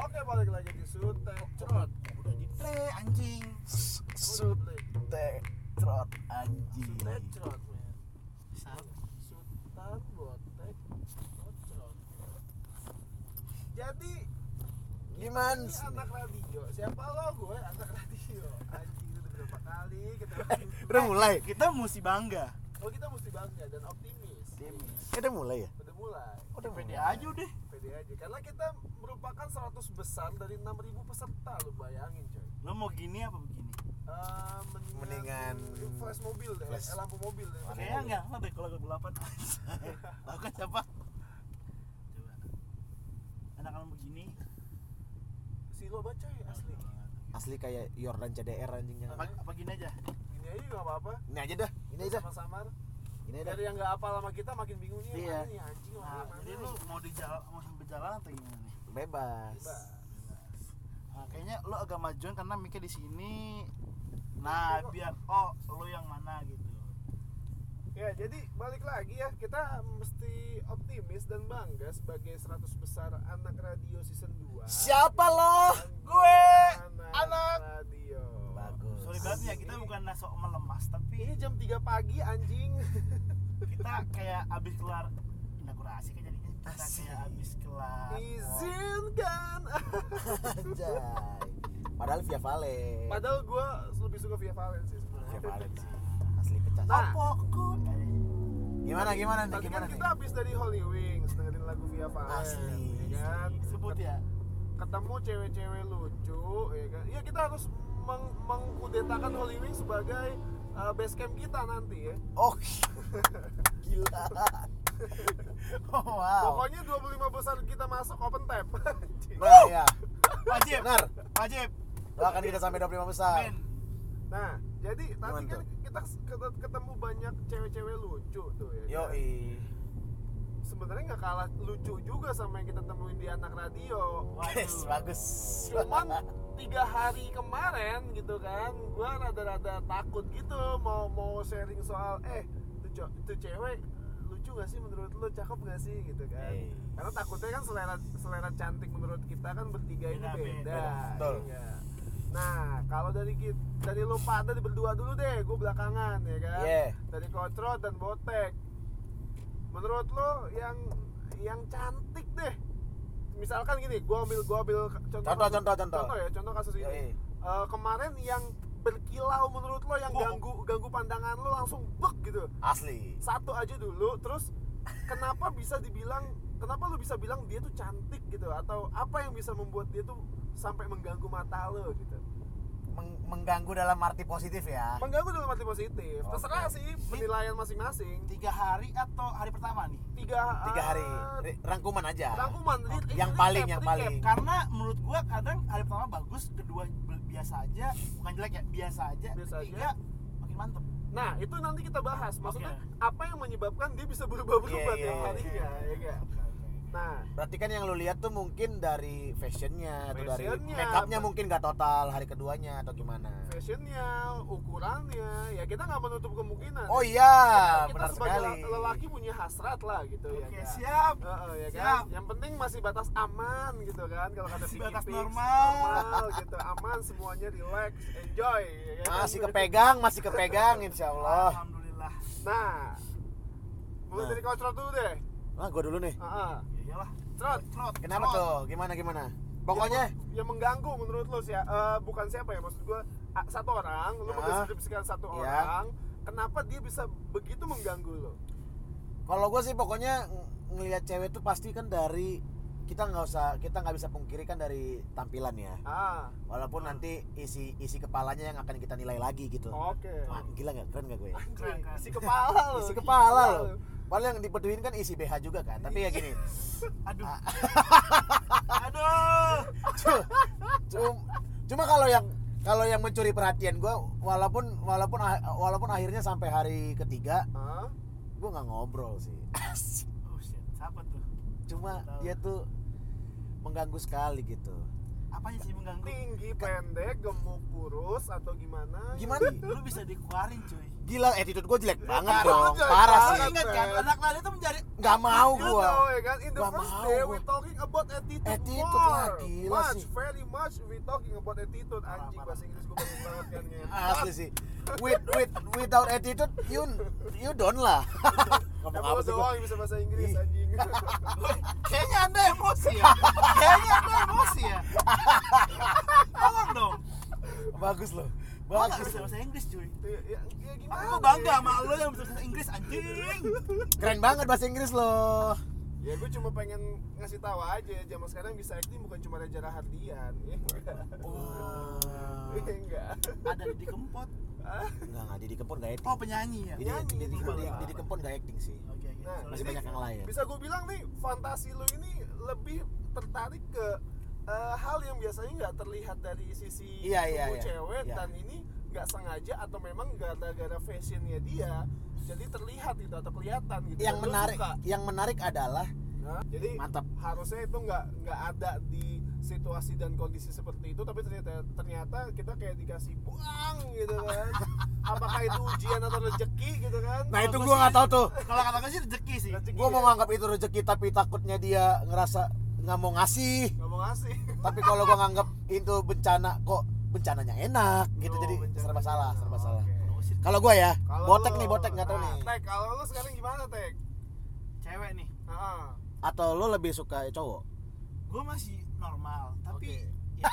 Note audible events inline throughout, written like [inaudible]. Oke balik lagi di Sutek Cerot udah di play anjing Sutek sutek trot anjing Sutek Cerot men Salah. Sutan Botek Cerot Jadi gimana ini sih? anak radio Siapa lo gue anak radio Anjing itu udah berapa kali [laughs] kita Eh, udah mulai kita mesti bangga Oh kita mesti bangga dan optimis Eh, udah mulai ya Udah mulai udah pede aja udah Pede aja Karena kita merupakan 100 besar dari 6000 peserta Lo bayangin coy lo mau gini apa begini Eh, Mendingan flash mobil deh, flash. Eh, lampu mobil deh. kayaknya enggak lah deh kalau [laughs] kegelapan tahu kan siapa coba anak-anak begini Si lo baca ya asli. asli kayak Yordan CDR anjing jangan apa, apa gini aja Ini aja nggak apa-apa. ini aja dah ini aja Samar-samar. ini aja Dari yang nggak apa sama kita makin bingung nih. Iya. Iya. Nih, anjing nah orang mana? jadi lo mau di jalan mau sambil jalan atau gimana nih bebas Bebas. Nah, kayaknya lo agak majuan karena mikir di sini nah biar oh lo yang mana gitu Ya, jadi balik lagi ya. Kita mesti optimis dan bangga sebagai 100 besar anak radio season 2. siapa lo Gue anak radio. bagus sorry banget ya kita bukan sok melemas Ini tapi jam 3 pagi anjing. kita kayak abis keluar inaugurasi kan jadinya kita kayak abis kelar Izinkan. [laughs] anjay padahal Via Vale Padahal gue lebih suka Via Valen sih sebenarnya. Via Vale asli pecah Nah. pokok gimana gimana nih Tadi kan gimana nih kita habis dari Holy Wings dengerin lagu Via Valen, Asli. ya kan? sebut ya Ketemu cewek-cewek lucu, ya kan? Iya kita harus meng- mengkudetakan Holy Wings sebagai uh, base camp kita nanti ya. oh [laughs] gila oh, wow Pokoknya 25 besar kita masuk open tap. [laughs] Anjing. nah ya wajib benar wajib doakan kita sampai 25 besar men nah, jadi tadi Gimana kan kita s- ket- ketemu banyak cewek-cewek lucu tuh ya. kan? yoi Sebenarnya nggak kalah lucu juga sama yang kita temuin di anak radio. Yes, bagus. cuman [laughs] ya. tiga hari kemarin gitu kan gua rada-rada takut gitu mau mau sharing soal eh itu, co- itu cewek lucu gak sih menurut lu cakep gak sih gitu kan Hey. karena takutnya kan selera selera cantik menurut kita kan bertiga ini Beda, beda, beda. Betul. iya. nah kalau dari kita dari lu Pak, dari berdua dulu deh gue belakangan ya kan Iya. dari kocrot dan botek menurut lo yang yang cantik deh misalkan gini gua ambil gua ambil contoh Contoh, kasus- contoh, contoh. ya contoh kasus ini Yoi. Eh, kemarin yang berkilau menurut lo yang Wow. ganggu ganggu pandangan lo langsung bek gitu asli satu aja dulu terus kenapa bisa dibilang kenapa lo bisa bilang dia tuh cantik gitu atau apa yang bisa membuat dia tuh sampai mengganggu mata lo gitu Meng- mengganggu dalam arti positif ya mengganggu dalam arti positif Oke. terserah sih penilaian masing-masing tiga hari atau hari pertama nih tiga, tiga hari eh, Ri- rangkuman aja rangkuman Li- ini Yang recap, paling, yang recap. paling. karena menurut gua kadang hari pertama bagus kedua bi- biasa aja bukan jelek ya biasa aja Biasa aja. ketiga makin mantep nah itu nanti kita bahas maksudnya apa yang menyebabkan dia bisa berubah-berubah Iya, iya, tiap iya. harinya ya nggak? nah berarti kan yang lu lihat tuh mungkin dari fashionnya atau dari Fashionnya, make upnya bet- mungkin nggak total hari keduanya atau gimana fashionnya ukurannya ya kita nggak menutup kemungkinan oh iya kita benar sebagai sekali lelaki punya hasrat lah gitu ya Iya, oke nggak? siap Heeh, ya kan? Siap. Yang penting masih batas aman gitu kan kalau kata Masih Pinky batas Pinks, normal. normal gitu aman semuanya relax enjoy ya kan? masih kepegang masih kepegang insya Ya Allah alhamdulillah nah mulai Nah. dari kontrol dulu deh nah gue dulu nih Heeh. ya iyalah Trot, trot kenapa trot. tuh gimana gimana pokoknya yang mengganggu menurut lo sih bukan siapa ya maksud gua ah, satu orang lo Ya. mendeskripsikan satu Ya. orang kenapa dia bisa begitu mengganggu lo kalau gue sih pokoknya ng- ngelihat cewek tuh pasti kan dari kita nggak usah kita nggak bisa pungkiri kan dari tampilan ya ah walaupun nanti isi isi kepalanya yang akan kita nilai lagi gitu oke Wah, gila nggak keren nggak gue ya? Anjing, Keren, keren. isi kepala lo isi kepala loh paling yang dipeduin kan isi BH juga kan tapi ya gini [laughs] aduh aduh cu- cum- cuma kalau yang kalau yang mencuri perhatian gue walaupun walaupun ah- walaupun akhirnya sampai hari ketiga Hah? gue nggak ngobrol sih [laughs] oh shit siapa tuh cuma dia tuh mengganggu sekali gitu apanya sih mengganggu tinggi pendek gemuk kurus atau gimana Gimana? lu bisa dikeluarin cuy Gila, attitude gue jelek banget Attitude dong. jelek Parah banget. sih. ingat kan anak lali itu menjadi Gak mau You gue. know, ya kan? In the Gak first mau day gua. we talking about attitude, Attitude more. lah, gila much, sih. very much we talking about attitude. Anjing parah. bahasa Inggris gue bagus banget kan ya. Asli sih. With, with, without attitude, you, you don't lah. [laughs] Ngomong Emang [laughs] apa lo sih gua? doang yang bisa bahasa Inggris Ih. anjing. [laughs] kayaknya anda emosi ya kayaknya anda emosi ya tolong dong Bagus loh. gua nggak Bagus bisa loh. bahasa Inggris cuy ya, ya, ya gimana? aku bangga sama lo yang bisa bahasa Inggris anjing Keren banget bahasa Inggris loh. Ya gue cuma pengen ngasih tahu aja zaman sekarang bisa acting bukan cuma Reza Rahardian. Ya enggak. Ah. Ya enggak. ada di kempot Enggak, enggak. Didi Kempot gak acting. oh penyanyi ya Didi, penyanyi, Didi, Didi Didi, Kempot. Didi Kempot gak acting sih. oke oke Nah, sorry. Iya. Masih banyak yang lain. Bisa gue bilang nih fantasi lo ini lebih tertarik ke eh, hal yang biasanya nggak terlihat dari sisi Iya, iya, tubuh iya. cewek Iya. dan ini nggak sengaja atau memang gara-gara fashionnya dia jadi terlihat gitu atau kelihatan gitu. Yang Dan lo menarik, suka. yang menarik adalah Nah, jadi mantap. harusnya itu nggak nggak ada di situasi dan kondisi seperti itu tapi ternyata ternyata kita kayak dikasih buang gitu [laughs] kan apakah itu ujian atau rezeki gitu kan Nah itu gue nggak tahu tuh. kalau kata gue sih rezeki sih Rezeki Gue mau ya? nganggap itu rezeki tapi takutnya dia ngerasa nggak mau ngasih. nggak mau ngasih Tapi kalau gue nganggap itu bencana kok bencananya enak gitu Tuh, jadi Oh, bencana. serba salah, serba Oh, salah. oke. Lu sih Kalau gue ya, Kalau botek lu- nih botek nggak tahu nah, nih. Tek, kalau lu sekarang gimana, Tek? cewek nih Heeh. Atau lo lebih suka cowok? gue masih normal Oke. tapi ya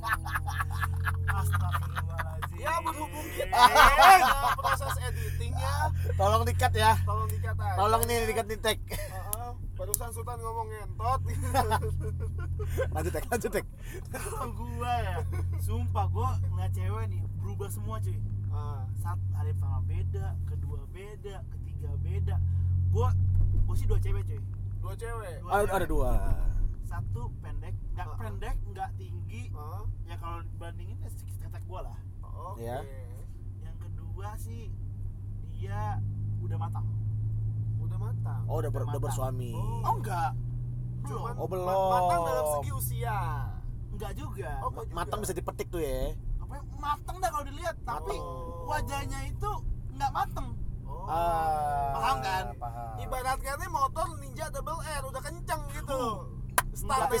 aduh. astagfirullahaladzim Ya berhubung kita Eh, eh, proses editingnya, Tolong dikat ya. tolong dikata. aja. Tolong nih dikat nih tek. Heeh. Barusan Sultan ngomong ngentot. [laughs] [laughs] Lanjut tek, lanjut tek. kalau gue ya sumpah gue ngeliat cewek nih berubah semua cuy Ah, saat hari pertama beda kedua beda ketiga beda gue gue sih dua cewek cuy dua cewek. Dua Ada, cewek. ada dua. satu pendek nggak Ah. pendek nggak tinggi Heeh. ya kalau dibandingin ya sedikit ketek gue lah Oke. Ya. yang kedua sih dia udah matang Udah matang. Oh udah, ber- udah bersuami. oh enggak Cuman belum Oh, belum. ma- Matang dalam segi usia. enggak juga Oh, kok juga? Matang bisa dipetik tuh ya. apa ya, mateng dah kalau dilihat tapi Oh. wajahnya itu nggak mateng Oh. Ah, Paham kan? Paham. Ibaratkannya motor Ninja Double R udah kenceng gitu. Tapi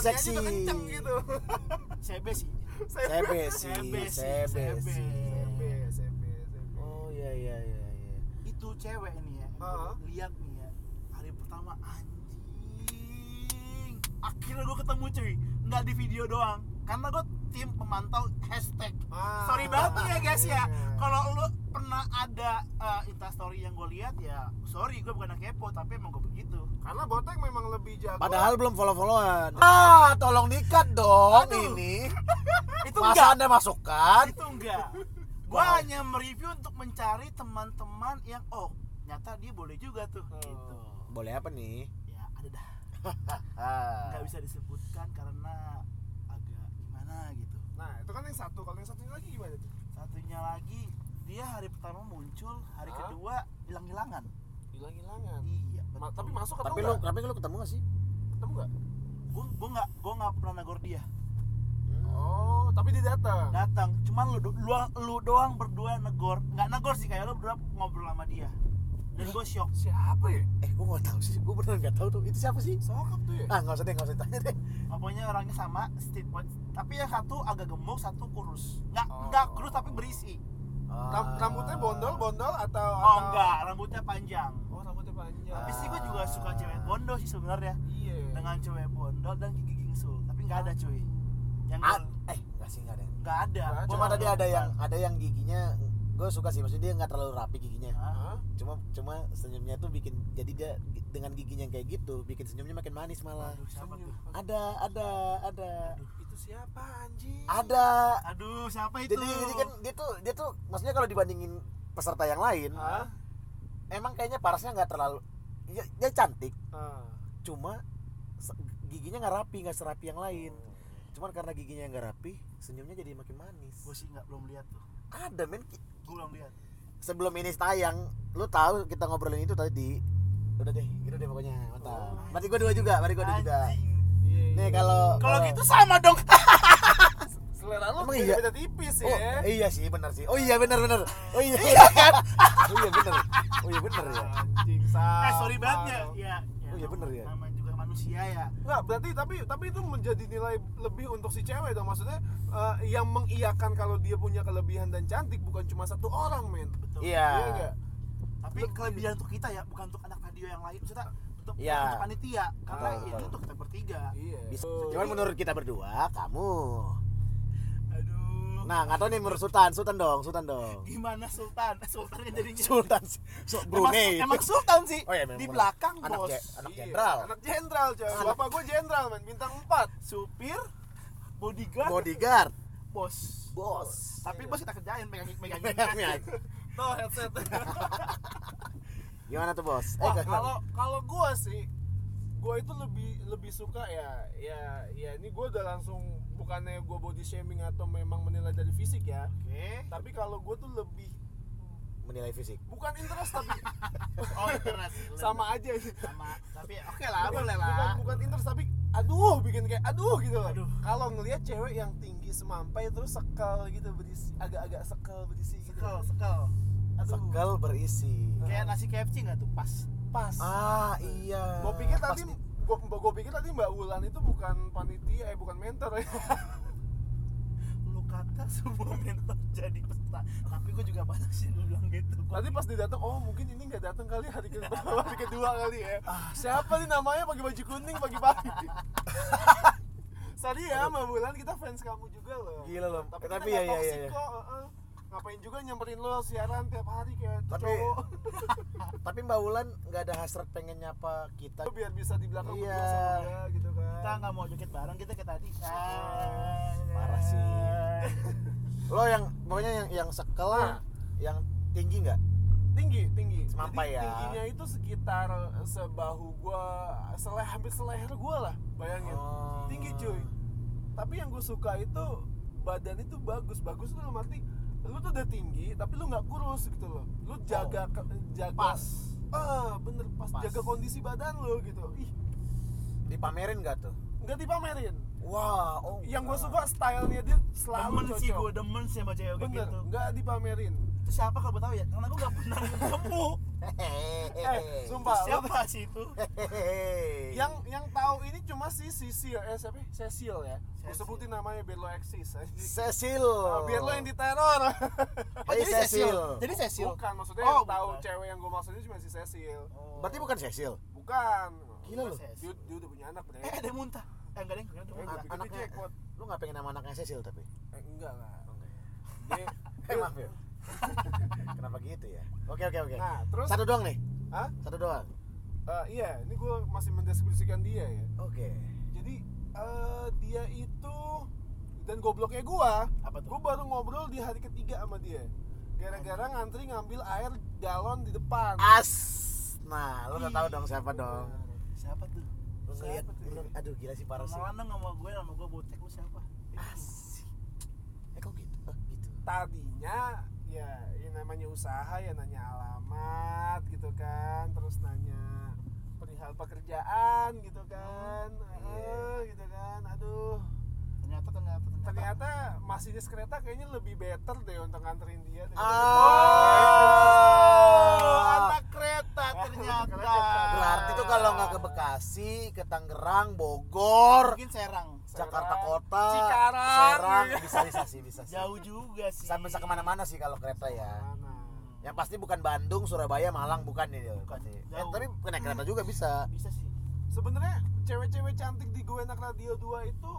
Starternya aja udah seksi. kenceng [laughs] gitu. CB sih [laughs] Saya Sebe sih, Sebe sebe sih, sebe. sih. SMP, SMP, SMP. Oh iya iya iya iya. itu cewek nih ya yang Ah. gua lihat nih ya hari pertama anjing akhirnya gue ketemu cuy nggak di video doang karena gue tim pemantau hashtag Ah. sorry banget nih ya guys ya Iya. kalau lu pernah ada eh, instastory yang gue lihat ya sorry gue bukan anak kepo tapi emang gue begitu Karena botek memang lebih jago. Padahal belum follow-followan. Ah, tolong dikat dong Aduh. ini. itu Masa enggak Anda masukkan? itu enggak gua Wow. hanya mereview untuk mencari teman-teman yang oh nyata dia boleh juga tuh Oh. gitu Boleh apa nih? ya ada dah Ah. nggak bisa disebutkan karena agak gimana gitu Nah, itu kan yang satu. Kalau yang satunya lagi gimana tuh? satunya lagi dia hari pertama muncul hari Hah? kedua hilang hilangan Hilang-hilangan. iya betul. Ma- tapi masuk ketemu Tapi lu nggak? tapi lu ketemu gak sih? ketemu nggak? gua gua nggak gua nggak pernah negor dia Oh, tapi dia datang. datang cuman lu do- lu, lu doang berdua negor nggak negor sih kayak lu berdua ngobrol sama dia dan gua shock Siapa ya? Eh, gua nggak tahu sih. Gua beneran nggak tahu tuh. Itu siapa sih? Sokap tuh ya? Ah, nggak usah deh, nggak usah ditanya deh. Apanya Nah, orangnya sama, state tapi yang satu agak gemuk, satu kurus. Nggak, Oh. nggak kurus tapi berisi. Ram- Ah. rambutnya bondol-bondol atau Oh atau- enggak, rambutnya panjang. Oh, rambutnya panjang. Tapi sih Ah. gue juga suka cewek bondol sih sebenarnya. Iya. Dengan cewek bondol dan gigi gingsul, tapi nggak ada cuy. Yang Ah, gua- eh, nggak sih nggak ada. nggak ada. Nggak ada. Gua Cuma nggak tadi ada yang ada yang giginya gue suka sih maksudnya dia nggak terlalu rapi giginya Hah? Hah? cuma cuma senyumnya tuh bikin jadi dia dengan giginya yang kayak gitu bikin senyumnya makin manis malah Aduh, siapa tuh? ada ada ada Itu siapa anjing? ada Aduh, siapa itu? jadi jadi kan dia tuh dia tuh maksudnya kalau dibandingin peserta yang lain Hah? emang kayaknya parasnya nggak terlalu dia, dia cantik Ah. cuma se- giginya nggak rapi nggak serapi yang lain cuman karena giginya nggak rapi senyumnya jadi makin manis Gue sih nggak belum lihat tuh. ada men Gue belum lihat. sebelum ini tayang lu tahu kita ngobrolin itu tadi udah deh gitu deh pokoknya mantap berarti gua dua juga berarti gua dua juga Oh, Anjing. Iya. ini nih kalau Kalau gitu sama dong. [laughs] selera lu Emang beda, iya? beda tipis ya Oh, iya sih benar sih. Oh iya benar benar. Oh iya iya kan. Oh iya benar. Oh iya benar ya. anjing eh sampah sorry banget ya. lu. Ya. Oh, iya bener ya. Namanya juga manusia ya. Nggak, berarti tapi tapi itu menjadi nilai lebih untuk si cewek dong maksudnya eh, yang mengiyakan kalau dia punya kelebihan dan cantik bukan cuma satu orang men Betul. Iya. iya nggak? Tapi kelebihan untuk kita ya, bukan untuk anak radio yang lain. Maksudnya untuk Iya. bukan untuk panitia karena ya Betul, itu betul. untuk kita bertiga. iya Bisa. Oh. [laughs] Cuman menurut kita berdua kamu. Aduh. Iya. Nah, nggak tahu nih menurut Sultan, Sultan dong, Sultan dong. Gimana Sultan? [laughs] Sultan yang jadinya Sultan so, Brunei. Emang, emang Sultan sih. Oh iya, memang di bener. belakang anak bos. je- anak Iya, jenderal. anak jenderal coy Anak- bapak gue jenderal men bintang 4 Supir, bodyguard, Bodyguard. bos. Bos. Tapi bos kita kerjain megangin megangin. tuh headset [laughs] Gimana tuh, Bos? Eh, [laughs] Wah, gimana? kalau kalau gue sih gue itu lebih lebih suka ya ya ya ini gue udah langsung bukannya gue body shaming atau memang menilai dari fisik ya Oke. tapi kalau gue tuh lebih menilai fisik. bukan interest [laughs] tapi Oh, internet. sama aja sama tapi oke lah Bukan- boleh bukan lah bukan interest tapi aduh bikin kayak aduh gitu loh. Aduh. kalau ngelihat cewek yang tinggi semampai terus sekal gitu berisi agak-agak sekal berisi gitu sekel sekel aduh Sekel berisi. kayak nasi KFC nggak tuh pas pas Ah, iya. gue pikir Pas tadi nih. gue gue pikir tadi mbak Wulan itu bukan panitia eh bukan mentor ya lu kata [laughs] semua mentor jadi peserta tapi gue juga banyak sih lu bilang gitu Nanti pas dia datang, oh mungkin ini nggak datang kali hari [laughs] kedua, hari kedua kali ya. Ah. Siapa nih namanya pakai baju kuning [laughs] pagi-pagi? Sorry ya, Mbak Bulan, kita fans kamu juga loh. Gila loh. Tapi, Tapi kita ya, nggak ya, ya, toxic ya. kok. heeh. Ngapain juga nyamperin lo siaran tiap hari kayak itu Tapi- cowok. [laughs] Tapi Mbak Wulan nggak ada hasrat pengen nyapa kita. Lo biar bisa di belakang Iya. berdua sama dia gitu kita kan. nggak mau joget bareng kita kayak tadi Parah [laughs] sih. Lo yang pokoknya yang yang sekel Iya. lah, yang tinggi nggak? Tinggi, tinggi. Semampai Jadi, ya. Tingginya itu sekitar sebahu gua, sele, hampir seleher gua lah, bayangin. Oh. tinggi cuy tapi yang gue suka itu badan itu bagus bagus tuh dalam arti lu tuh udah tinggi tapi lu nggak kurus gitu loh lu jaga ke- jaga Oh. pas ah bener pas, Pas. jaga kondisi badan lu gitu ih Dipamerin nggak tuh? nggak dipamerin Wah, oh. yang gue suka stylenya dia demen selalu Ah. sih gue cocok demen sih sama cewek kayak bener gitu nggak dipamerin itu siapa kalau gue tahu ya karena gue nggak pernah ketemu [laughs] eh Itu [laughs] sumpah lu- siapa sih itu Iya. yang yang tahu ini cuma si Cecil eh siapa Cecil ya gue Cecil. sebutin namanya biar lo eksis anjing. Cecil. Ah, biar lo yang diteror oh Hey, Cecil. jadi Cecil jadi Cecil bukan maksudnya Oh, yang tahu bukan. cewek yang gue maksudnya cuma si Cecil Oh. Berarti bukan Cecil. Bukan. Gila lu. Dia, dia udah punya anak, Bre. eh ada yang muntah eh enggak deh enggak ada yang Anak- muntah anaknya- jackpot. Lu nggak pengen nama anaknya Cecil tapi? Eh, enggak lah. Dia, [laughs] Eh, maaf ya. Kenapa gitu ya? Oke oke oke. nah, terus Satu doang nih. Hah? Satu doang. Eh, iya, ini gue masih mendeskripsikan dia ya. Oke. Jadi eh, dia itu dan gobloknya gua, apa tuh gua baru ngobrol di hari ketiga sama dia. Gara-gara ngantri ngambil air galon di depan. As. Nah, lu nggak tahu dong siapa dong. siapa tuh Lu ngeliat, Siapa tuh? lu- aduh gila sih parah sih. kenalan dong sama gue sama gue botek lu siapa Asik. Eh kok gitu? Oh, gitu. Tadinya ya yang namanya usaha ya nanya alamat gitu kan, terus nanya perihal pekerjaan gitu kan. Hmm, iya. Eh, gitu kan. Aduh. ternyata ternyata ternyata ternyata masinis kereta kayaknya lebih better deh untuk nganterin dia Oh, Ah. anak kereta ternyata Ah. Berarti tuh kalau nggak ke Bekasi, ke Tangerang, Bogor, mungkin serang Jakarta Kota, Cikarang. Serang, bisa bisa sih, bisa sih. jauh juga sih Hmm. Bisa bisa kemana-mana sih kalau kereta ya. Mana? Yang pasti bukan Bandung, Surabaya, Malang, bukan nih. dia. Bukan, Pasti. Eh, jauh. tapi naik kereta Hmm. juga bisa. bisa sih sebenarnya cewek-cewek cantik di gue enak radio 2 itu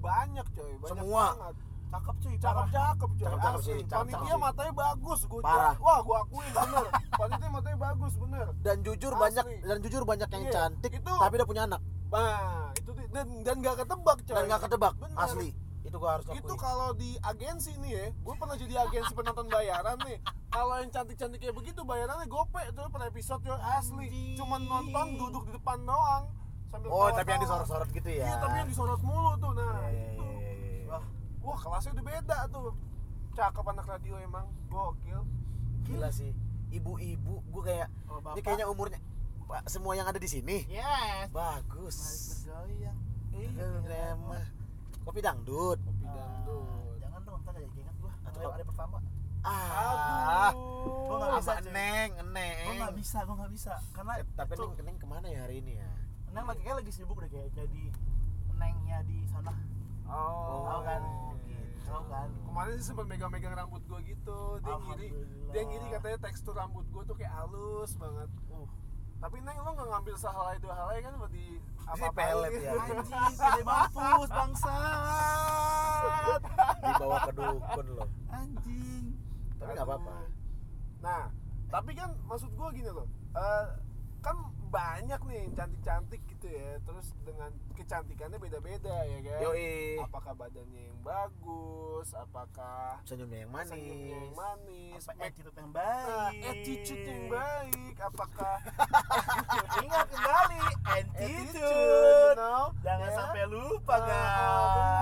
banyak coy banyak Semua. banget. cakep cuy parah. cakep-cakep coy Cakep-cakep asli. sih, cakep-cakep panitia sih. matanya bagus gue Parah. wah gue akuin bener panitia matanya bagus bener Dan jujur Asli. banyak dan jujur banyak yang Iya, cantik itu- tapi udah punya anak nah itu di- dan dan gak ketebak coy dan nggak ketebak Bener. asli. Itu gua harus itu akui. kalau di agensi nih ya gue pernah jadi agensi penonton bayaran nih kalau yang cantik cantik kayak begitu bayarannya gope tuh per episode tuh asli Anjing. cuman nonton duduk di depan doang sambil Oh, tapi ketawa-tawa. yang disorot-sorot gitu ya. iya tapi yang disorot mulu tuh nah Iya, iya, itu iya, iya, iya. wah wah kelasnya udah beda tuh cakep anak radio emang gokil Gila sih. Ibu-ibu gua kayak kalau bapak ini kayaknya umurnya Pak, semua yang ada di sini yes bagus. Mari bergoyang iya Keren. kopi dangdut kopi Ah, dangdut jangan dong ntar kayak ingat gua Atau hari, hari pertama ah Oh, gua nggak bisa apa Ceng. neng neng gua nggak bisa gua nggak bisa karena Eh, tapi itu- neng neng kemana ya hari ini ya neng lagi kayak lagi sibuk deh kayak kayak di nengnya di sana oh, tahu kan oke. tahu kan gitu. kemarin sih sempat megang-megang rambut gue gitu dia ngiri Alhamdulillah. dia ngiri katanya tekstur rambut gue tuh kayak halus banget Uh. tapi neng lo nggak ngambil sehelai dua helai kan buat di gitu. pelet ya. anjing pede mampus bangsat dibawa ke dukun loh anjing tapi nggak apa-apa nah tapi kan maksud gue gini loh eh, kan banyak nih yang cantik-cantik gitu ya terus dengan kecantikannya beda-beda ya kan yoi apakah badannya yang bagus apakah senyumnya yang senyumnya yang manis manis apa eh, make Ah, attitude yang baik Nah, attitude yang baik apakah [laughs] ingat kembali attitude you attitude know jangan Ya. sampai lupa Ah, benar. In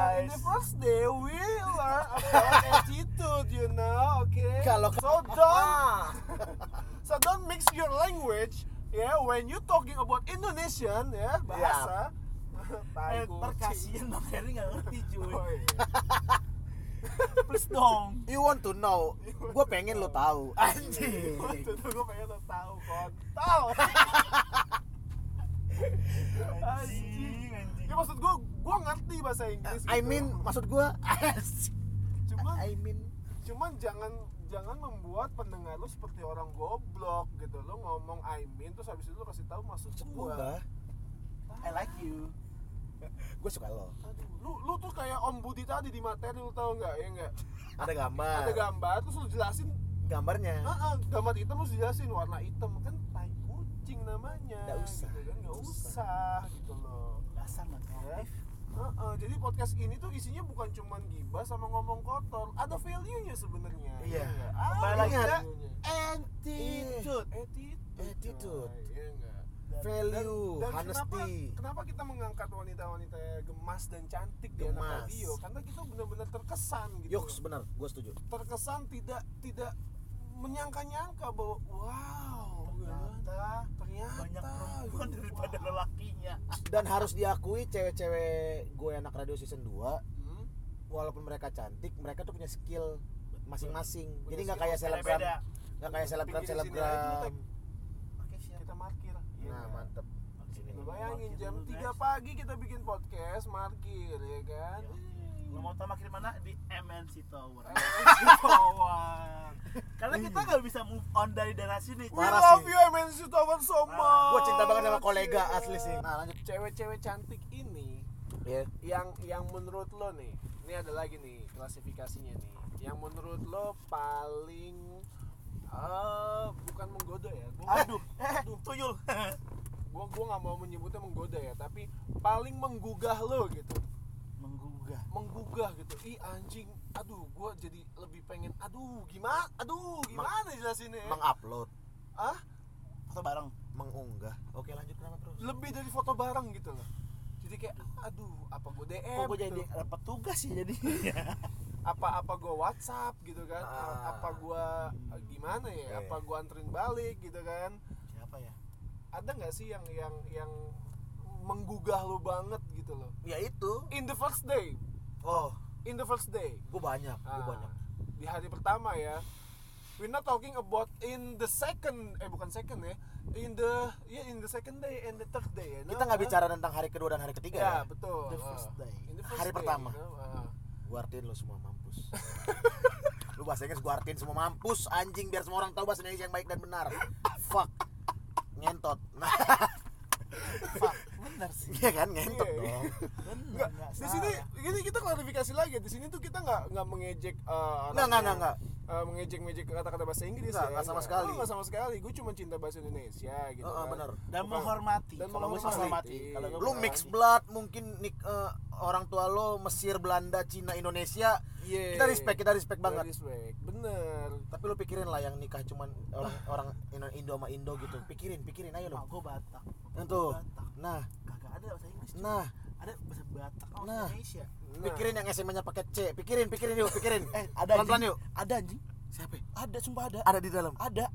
guys the first day we learn about ya? attitude you know okay Kalau- so don't [laughs] so don't mix your language yeah when you talking about Indonesian ya bahasa Tai Eh, ntar kucing. kasihan Bang Heri nggak ngerti cuy Oh, iya. please dong you want to know gue pengen lo tahu [laughs] anjing Waktu itu gue pengen lo tahu kontol anjing anjing ya maksud gue gue ngerti bahasa Inggris I gitu. mean maksud gue cuman I mean cuman jangan jangan membuat pendengar lu seperti orang goblok gitu lu ngomong I mean terus habis itu lu kasih tahu maksud gua gue I like you gue suka lo Aduh, lu lu tuh kayak Om Budi tadi di materi lu tau nggak ya nggak ada gambar ada gambar terus lu jelasin gambarnya ah, ah, gambar hitam lu jelasin warna hitam kan tai kucing namanya Nggak usah. gitu kan nggak Nggak usah. usah. gitu loh dasar nggak kreatif Ah, ah, jadi podcast ini tuh isinya bukan cuman gibah sama ngomong kotor ada value nya sebenarnya ya Iya. nggak? Kembali Ada lagi ke value-nya. attitude attitude Attitude. coy. Iya nggak? Eh. value Dan kenapa, gitu? honesty kenapa kita mengangkat wanita-wanita gemas dan cantik di anak Gemas. radio? Karena kita benar-benar terkesan gitu. Yoks loh. benar, gue setuju. Terkesan tidak tidak menyangka-nyangka bahwa wow, ternyata ternyata banyak perempuan gitu. daripada Wah. lelakinya Dan harus diakui cewek-cewek gue anak radio season 2 Hmm? walaupun mereka cantik, mereka tuh punya skill masing-masing. Punya Jadi nggak skill kayak selebgram, beda nggak kayak selebgram Pinggirin sini aja dulu, selebgram. Tek. oke siap Kita markir. Iya Nah nggak? mantep. Oke, Lu bayangin parkir jam dulu, 3 guys. pagi kita bikin podcast, markir ya kan. Iya. Lu mau tahu makin mana di MNC Tower. Kawan. Karena kita nggak bisa move on dari daerah sini. We Parah love sih. you MNC Tower so much. Parah. Gue cinta banget sama kolega Iya. asli sih. Nah lanjut. Cewek-cewek cantik ini Ya. yang yang menurut lo nih, ini ada lagi nih klasifikasinya nih. Yang menurut lo paling eh bukan menggoda ya. Gua Aduh, aduh, tuyul. gua gua nggak mau menyebutnya menggoda ya, tapi paling menggugah lo gitu. [laughs] Menggugah. Menggugah gitu. Ih anjing, aduh gua jadi lebih pengen aduh gimana aduh gimana jelasinnya? ya? Mengupload, Ah, Foto bareng. mengunggah. Oke lanjut kenapa terus? lebih dari foto bareng gitu loh. Jadi kayak aduh, apa gue DM? Kok gue jadi gitu? dapat tugas ya jadi. apa apa gue WhatsApp gitu kan Ah. apa gue gimana ya Iya. apa gue anterin balik gitu kan Siapa ya? ada nggak sih yang yang yang menggugah lo banget gitu loh Ya itu. in the first day Oh, in the first day gue banyak, gue Ah, banyak. di hari pertama ya we're not talking about in the second eh bukan second ya in the yeah in the second day and the third day ya Kita nggak bicara tentang hari kedua dan hari ya, ketiga ya. betul The first Ah. day. In the Hari pertama. you know, ah. Gue artiin lo semua mampus. [laughs] lu bahasa Inggris gue artiin semua mampus anjing biar semua orang tahu bahasa Indonesia yang baik dan benar. Fuck. Ngentot. [laughs] Nah, Pak, bener sih. iya kan ngentot Iya, iya. dong. Bener. Nggak, di sini ini kita klarifikasi lagi di sini tuh kita nggak nggak mengejek eh, Nggak, orang nggak, nggak, yang, nggak. eh, mengejek-ngejek kata-kata bahasa Inggris Nggak, nggak sama sekali. Oh, nggak sama sekali gue cuma cinta bahasa Indonesia gitu Heeh, kan. benar. Dan Bukan. menghormati. Dan Kalau gue sih menghormati. menghormati. Kalau Lu gua menghormati. mix blood mungkin nik eh, orang tua lo Mesir, Belanda, Cina, Indonesia. Yeay. Kita respect, kita respect Iya. Kita banget. respect bener Tapi lu pikirin lah yang nikah cuman orang orang Indo- Indo sama Indo gitu. Pikirin, pikirin aja lu. Mak gue Batak. Nah, Bapak tuh. gua Batak. Nah, Kagak ada bahasa Inggris. cuy. nah, Ada bahasa Batak sama Nah. Indonesia. Nah, pikirin yang SMA-nya pakai C. Pikirin, pikirin yuk, pikirin. [laughs] Eh, ada Pelan-pelan anjing. yuk. Ada anjing. Siapa? Ada sumpah ada. Ada di dalam. Ada.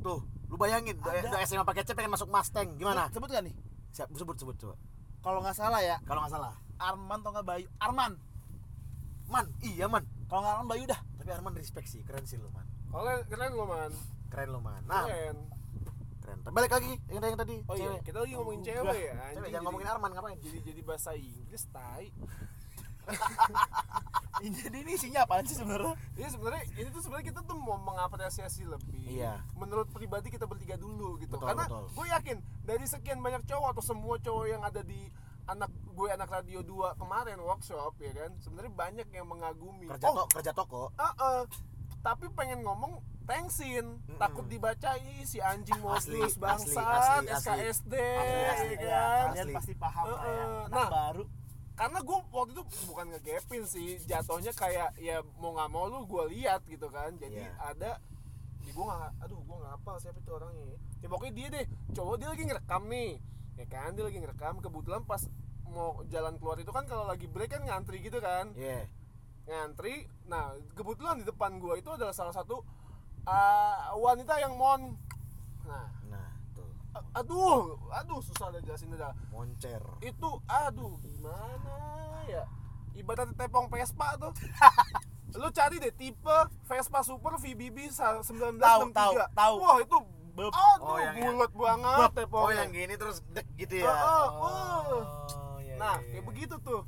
Tuh, lu bayangin udah Ada. udah SMA pakai C pengen masuk Mustang. Gimana? Sebut gak nih? Siap, sebut sebut coba. Kalau nggak salah ya, Kalau nggak salah. Arman atau nggak Bayu? Arman. man iya man Kalau nggak kan Bayu dah. tapi Arman respect sih keren sih lo man Kalian keren lo man. keren lo man nah Keren. keren balik lagi yang yang tadi Oh iya, cewek. kita lagi ngomongin Oh, cewek enggak. ya. anjing. cewek jangan Jadi- ngomongin Arman ngapain Jadi jadi bahasa Inggris tai. Ini jadi ini isinya apaan sih sebenarnya? Ini Iya, sebenarnya ini tuh sebenarnya kita tuh mau mengapresiasi lebih. Iya. Oh. Menurut pribadi kita bertiga dulu gitu. Betul, Karena betul. gue yakin dari sekian banyak cowok atau semua cowok yang ada di anak gue anak radio 2 kemarin workshop ya kan sebenarnya banyak yang mengagumi kerja Oh, to kerja toko Heeh. tapi pengen ngomong tengsin takut dibaca "Ih, si anjing mau Asli, serius asli, bangsat asli, asli. SKSD Asli, asli, ya Ya, kan kalian Asli. pasti paham lah ya. Heeh. Anak Nah. baru. karena gue waktu itu bukan ngegapin sih jatuhnya kayak ya mau nggak mau lu gue lihat gitu kan jadi Iya. ada di gue nggak aduh gue nggak apa siapa itu orangnya ya pokoknya dia deh cowok dia lagi ngerekam nih ya kan dia lagi ngerekam kebetulan pas mau jalan keluar itu kan kalau lagi break kan ngantri gitu kan iya ngantri nah kebetulan di depan gue itu adalah salah satu ah, wanita yang mon nah nah tuh a- aduh aduh susah ada jelasin dah moncer itu aduh gimana ya ibarat tepong Vespa [laughs] tuh lu cari deh tipe Vespa Super VBB sa- 1963 Tahu, tahu, tahu. wah itu Beb. aduh Oh, yang- bulat banget Bep. tepongnya oh yang gini terus dek gitu ya Oh, Heeh, uh. oh iya, nah iya, kayak iya. begitu tuh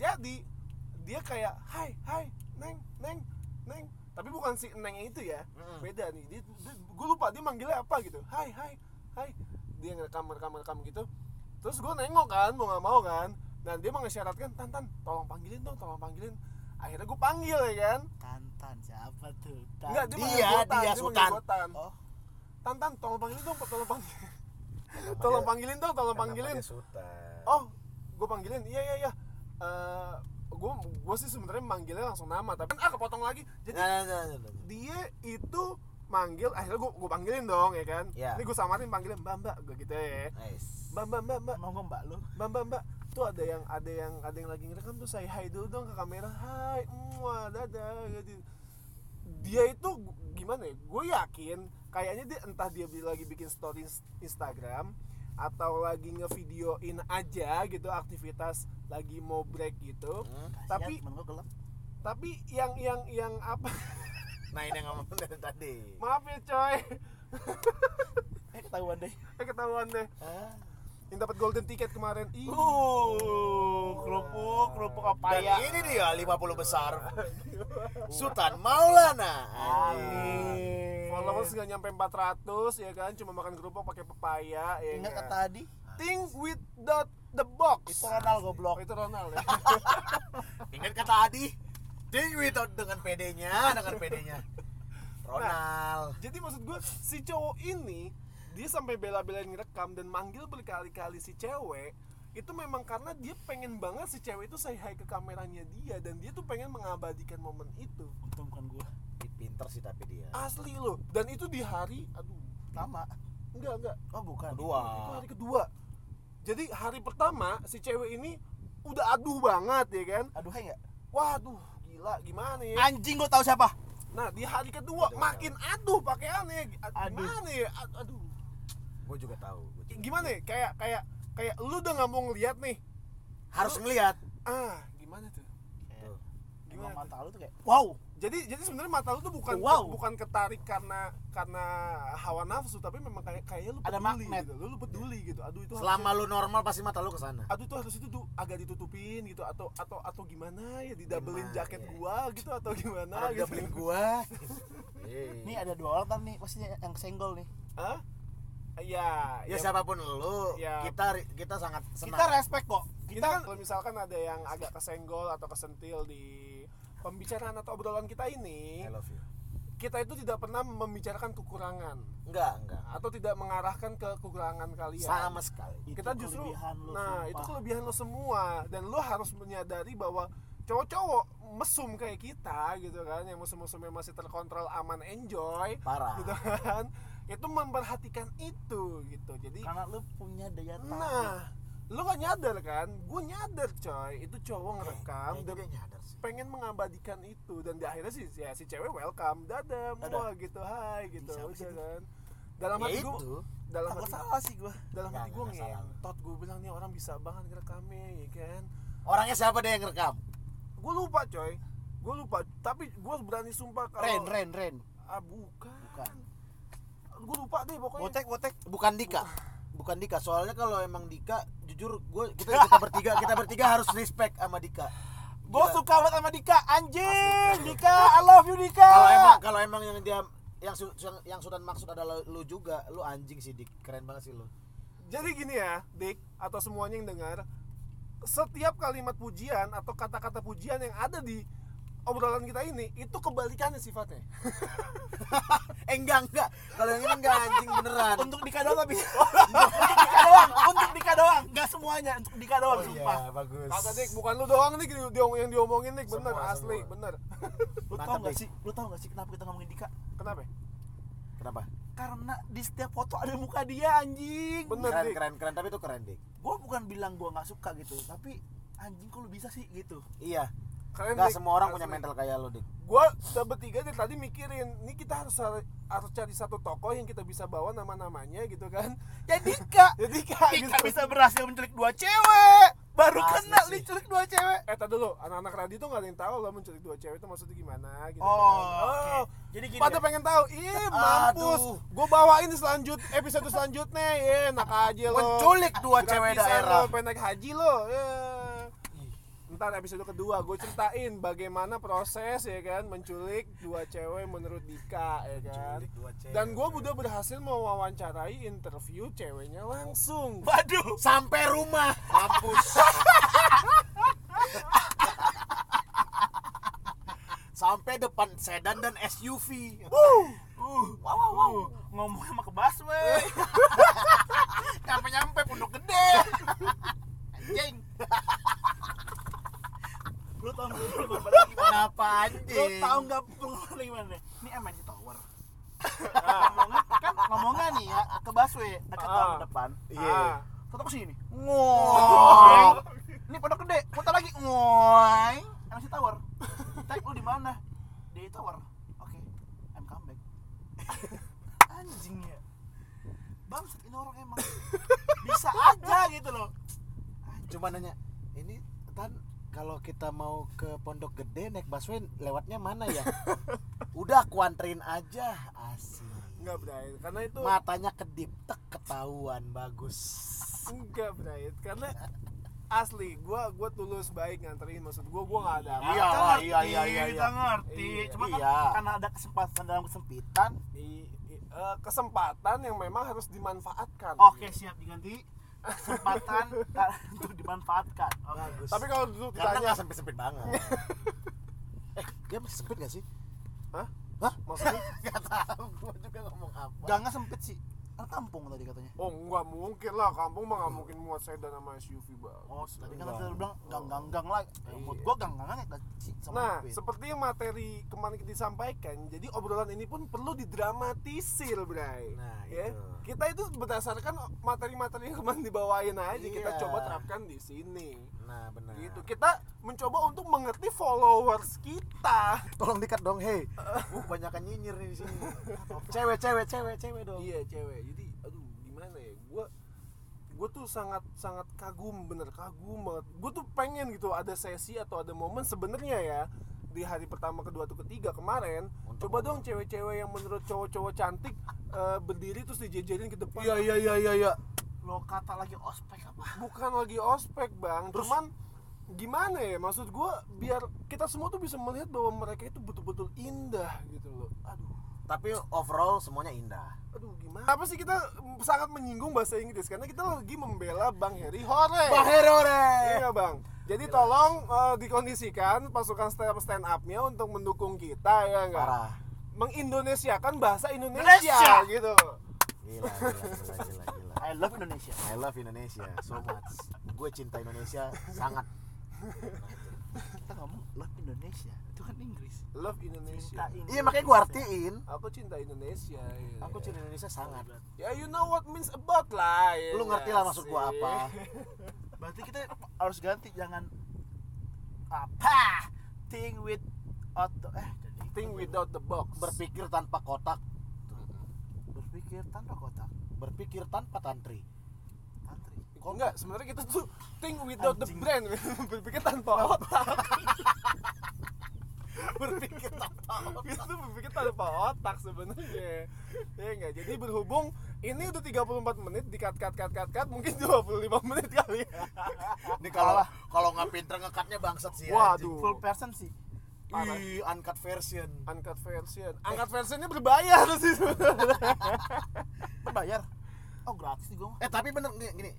jadi dia kayak hai hai neng neng neng tapi bukan si neng itu ya Mm-mm. beda nih dia, gue lupa dia manggilnya apa gitu hai hai hai dia ngerekam rekam rekam gitu terus gue nengok kan mau nggak mau kan dan dia mengisyaratkan tan tan tolong panggilin dong tolong panggilin akhirnya gue panggil ya kan Tantan siapa tuh? Tan. Enggak, Dia, manggil gua Tan, dia manggil Sultan. gua Tan. Oh, Tan Tan, tolong panggilin dong, tolong panggilin. Kenapa tolong dia- panggilin dong, tolong kenapa panggilin. dia Sultan? oh gue panggilin iya iya iya Eh gue gue sih sebenarnya manggilnya langsung nama tapi ah kepotong lagi jadi Nah, nah, nah, nah. dia itu manggil akhirnya gue gue panggilin dong ya kan Iya. ini gue samarin panggilin mbak mbak gue gitu ya Nice. mbak mbak mbak mbak mau ngomong mbak lu. mbak mbak mbak tuh ada yang ada yang ada yang lagi ngerekam tuh saya hai dulu dong ke kamera hai muah dadah gitu dia itu gu- gimana ya gue yakin kayaknya dia entah dia bi- lagi bikin story ins- Instagram atau lagi ngevideoin aja gitu aktivitas lagi mau break gitu Iya. Hmm. Tapi- Kasihan temen gua gelap. tapi yang yang yang apa [laughs] Nah ini yang [laughs] ngomong dari tadi. maaf ya coy Eh ketahuan deh. Eh, ketahuan deh Ah. yang dapat golden ticket kemarin ih Uh, Oh, kerupuk, kerupuk apa Dan ya? ini dia 50 besar. [laughs] Sultan Maulana. Anjing. followers nggak nyampe 400 ya kan cuma makan kerupuk pakai pepaya ya Ingat kan? kata tadi? think with the the box Itu kan Ronald Oh, goblok. itu Ronald [laughs] ya Ingat kata Adi. Ding Witot dengan PD-nya, dengan PD-nya. [laughs] Ronald. jadi maksud gue si cowok ini dia sampai bela-belain ngerekam dan manggil berkali-kali si cewek itu memang karena dia pengen banget si cewek itu say hi ke kameranya dia dan dia tuh pengen mengabadikan momen itu Untung bukan gua. Nah. Pinter sih tapi dia. asli loh dan itu di hari aduh Lama. enggak enggak Oh, bukan. Kedua. Ah, itu hari kedua jadi hari pertama si cewek ini udah aduh banget ya kan Aduh, hai enggak? waduh gila gimana ya Eh. Anjing gua tahu siapa. nah di hari kedua Aduh. makin aduh pakaiannya Aduh. gimana ya Ad- aduh Gue juga tahu. Gua juga- gimana ya kayak kayak kayak lu udah nggak mau ngeliat nih Harus ngelihat. ah gimana tuh Tuh. Gimana Gimana mata lu tuh kayak wow. jadi jadi sebenarnya mata lu tuh bukan Wow. bukan ketarik karena karena hawa nafsu tapi memang kayak kayaknya lu Ada peduli magnet. gitu lu, lu peduli gitu aduh itu harusnya- Selama lu normal pasti mata lu ke sana. aduh tuh harus itu tuh agak ditutupin gitu atau atau atau gimana ya didabelin Gimana, jaket iya. gua gitu atau gimana Kalau gitu udah [laughs] beliin gua. Nih Nih, ada dua orang kan nih pasti yang senggol nih. Hah? ya ya siapapun lu, Ya. kita kita sangat senang. Kita respect kok. kita kan Kita kalau misalkan ada yang agak kesenggol atau kesentil di pembicaraan atau obrolan kita ini I love you. kita itu tidak pernah membicarakan kekurangan Enggak, enggak. atau tidak mengarahkan ke kekurangan Iya. kalian Sama sekali. Itu kita justru kelebihan lu, nah sumpah. itu kelebihan lo semua dan lo harus menyadari bahwa cowok-cowok mesum kayak kita gitu kan yang mesum-mesumnya masih terkontrol aman enjoy Parah. gitu kan itu memperhatikan itu gitu jadi karena lu punya daya tarik. nah lo gak nyadar kan gue nyadar coy itu cowok ngerekam Kayaknya dan Ya, dia nyadar sih. pengen mengabadikan itu dan di akhirnya sih ya si cewek welcome dadah Dadah. wah gitu hai gitu Siapa sih udah itu? kan dalam Ya hati gue itu. dalam Takut hati salah sih gua. dalam Nggak, hati gue nggak, nggak salah. ngentot gue bilang nih orang bisa banget ngerekamnya ya kan Orangnya siapa deh yang rekam? gue lupa coy gue lupa tapi gue berani sumpah kalau Ren, Ren, Ren. ah bukan, Bukan. gue lupa deh pokoknya Botek, botek. bukan Dika bukan Dika soalnya kalau emang Dika jujur gue kita kita bertiga kita bertiga harus respect sama Dika Gue Gila. suka banget sama Dika, anjing. Dika, I love you Dika. kalau emang kalau emang yang dia yang su- yang, yang sudah maksud adalah lu juga lu anjing sih Dik keren banget sih lu jadi gini ya Dik atau semuanya yang dengar setiap kalimat pujian atau kata-kata pujian yang ada di obrolan kita ini itu kebalikannya sifatnya eh enggak enggak kalau yang ini enggak anjing beneran untuk Dika doang [laughs] tapi. untuk Dika doang, untuk Dika doang. Enggak semuanya, untuk Dika doang, oh sumpah. iya bagus Kagak Dik, bukan lu doang nih diom- yang diomongin Dik, bener Semua, asli, semua. bener. Lu tau Mantap, gak Dik. sih, lu tau gak sih kenapa kita ngomongin Dika? Kenapa? ya? kenapa Karena di setiap foto ada muka dia, anjing. Bener. keren Dik. keren keren tapi itu keren Dik Gue bukan bilang gue nggak suka gitu, tapi anjing kok lu bisa sih gitu. iya Kalian enggak Dik, semua orang asli. punya mental kayak lu Dik Gua udah bertiga dari tadi mikirin, ini kita harus harus cari satu tokoh yang kita bisa bawa nama-namanya gitu kan. Ya [laughs] Dika, Jadi kayak Dika gitu. bisa berhasil menculik dua cewek. Baru Asli kena sih. diculik dua cewek. Eh, tadi dulu, anak-anak radio tuh gak ada yang tahu lo menculik dua cewek itu maksudnya gimana gitu. kan. oke. Oh, Jadi gini. Pada ya. pengen tahu, ih mampus, Aduh. gue bawain selanjut episode selanjutnya, ya enak aja Oh. lo. menculik dua Gratisan cewek Lo, daerah pengen naik haji lo. Ya. Ntar episode kedua gue ceritain bagaimana proses ya kan menculik dua cewek menurut Dika ya kan. Dan gue udah berhasil mewawancarai interview ceweknya langsung. Waduh. sampai rumah mampus [laughs] sampai depan sedan dan SUV Uh, wow, wow, wow. Ngomong sama ke busway. [laughs] Nyampe-nyampe pondok gede. Anjing. lu tau gak pengorbanan gimana? kenapa Lu anjing tau gak pengorbanan gimana? Ini MNC Tower. ngomongnya, kan ngomongnya nih ya ke busway dekat Ah. tower depan. Iya. Ah. Tetap sini. Ngoy. Ini pondok gede, kota lagi. Ngoy. MNC Kan Tower. [laughs] Tag lu di mana? Di Tower. Oke. I'm come back. [laughs] Anjing ya. Bangsat ini orang emang bisa aja gitu loh. cuma nanya ini tan kalau kita mau ke pondok gede naik busway lewatnya mana [laughs] ya udah aku anterin aja asik Enggak berani, karena itu Gitu. matanya kedip tek ketahuan bagus enggak berani, karena asli gue gue tulus baik nganterin maksud gue gue nggak ada apa Iya, Kita lah, ngerti, iya, iya, iya, Kita iya. ngerti. Iya. Cuma kan Iya. karena ada kesempatan dalam kesempitan. di i- eh, kesempatan yang memang harus dimanfaatkan. Oke, siap diganti. [laughs] Kesempatan tak- untuk dimanfaatkan. Oke. bagus Tapi kalau dulu karena ditanya, nggak sempit sempit [laughs] banget eh dia masih sempit gak sih Hah? Hah? maksudnya Gak tahu gua juga ngomong apa. Gangga sempit sih. Kan kampung tadi katanya. Oh nggak mungkin lah, kampung mah nggak mungkin muat sedan sama SUV bang. Oh, tadi kan tadi lu bilang gang-gang-gang lah. Menurut Iya. gua gang-gangan ya kecil sama Nah, sempit. seperti yang materi kemarin kita disampaikan, jadi obrolan ini pun perlu didramatisir, Bray. Nah, Ya? itu. Kita itu berdasarkan materi-materi yang kemarin dibawain aja, kita Iya. coba terapkan di sini. Nah, benar. Gitu. Kita mencoba untuk mengerti followers kita. Tolong dikat dong, [laughs] hei. Uh, banyakan nyinyir nih di sini. cewek, cewek, cewek, cewek dong. Iya, cewek. Jadi, aduh, gimana ya? Gua gue tuh sangat sangat kagum bener kagum banget gue tuh pengen gitu ada sesi atau ada momen sebenarnya ya di hari pertama kedua atau ketiga kemarin Untuk coba dong cewek-cewek yang menurut cowok-cowok cantik eh, berdiri terus dijejerin ke depan iya, iya, iya, iya. lo kata lagi ospek apa? bukan lagi ospek bang cuman gimana ya maksud gue biar kita semua tuh bisa melihat bahwa mereka itu betul-betul indah gitu loh aduh Tapi overall semuanya indah. aduh gimana apa sih kita mm, sangat menyinggung bahasa Inggris karena kita lagi membela Bang Heri Hore Eh. Herore. Iya bang. Jadi tolong eh, dikondisikan pasukan stand stand up-nya untuk mendukung kita ya enggak. Parah. Mengindonesiakan bahasa Indonesia, Indonesia. gitu. Gila, gila, gila, gila, gila. I love Indonesia. I love Indonesia so much. Gue cinta Indonesia sangat. Kita ngomong love Indonesia. Itu kan Inggris. Love Indonesia. Cinta Indonesia. Iya, makanya gue artiin. Aku cinta Indonesia. ya. Aku cinta Indonesia sangat. Ya you know what means about lah. ya Lu ngerti lah maksud gue sih. apa. Berarti kita harus ganti jangan apa? Thing with auto eh jadi [laughs] Think without the box. Berpikir tanpa kotak, berpikir tanpa kotak. berpikir tanpa tantri. Tantri. kok enggak sebenarnya kita tuh think without the brand [laughs] berpikir tanpa [laughs] otak berpikir [laughs] tanpa kita tuh berpikir tanpa otak sebenarnya ya enggak jadi berhubung ini udah 34 menit di cut cut cut cut cut mungkin 25 [laughs] menit kali ya. ini kalau kalau nggak pinter ngekatnya bangsat sih ya, Waduh. full person sih anjing. Ih, uncut version angkat version angkat versionnya berbayar [laughs] sih sebenarnya. berbayar oh gratis nih gue mah eh tapi bener gini, gini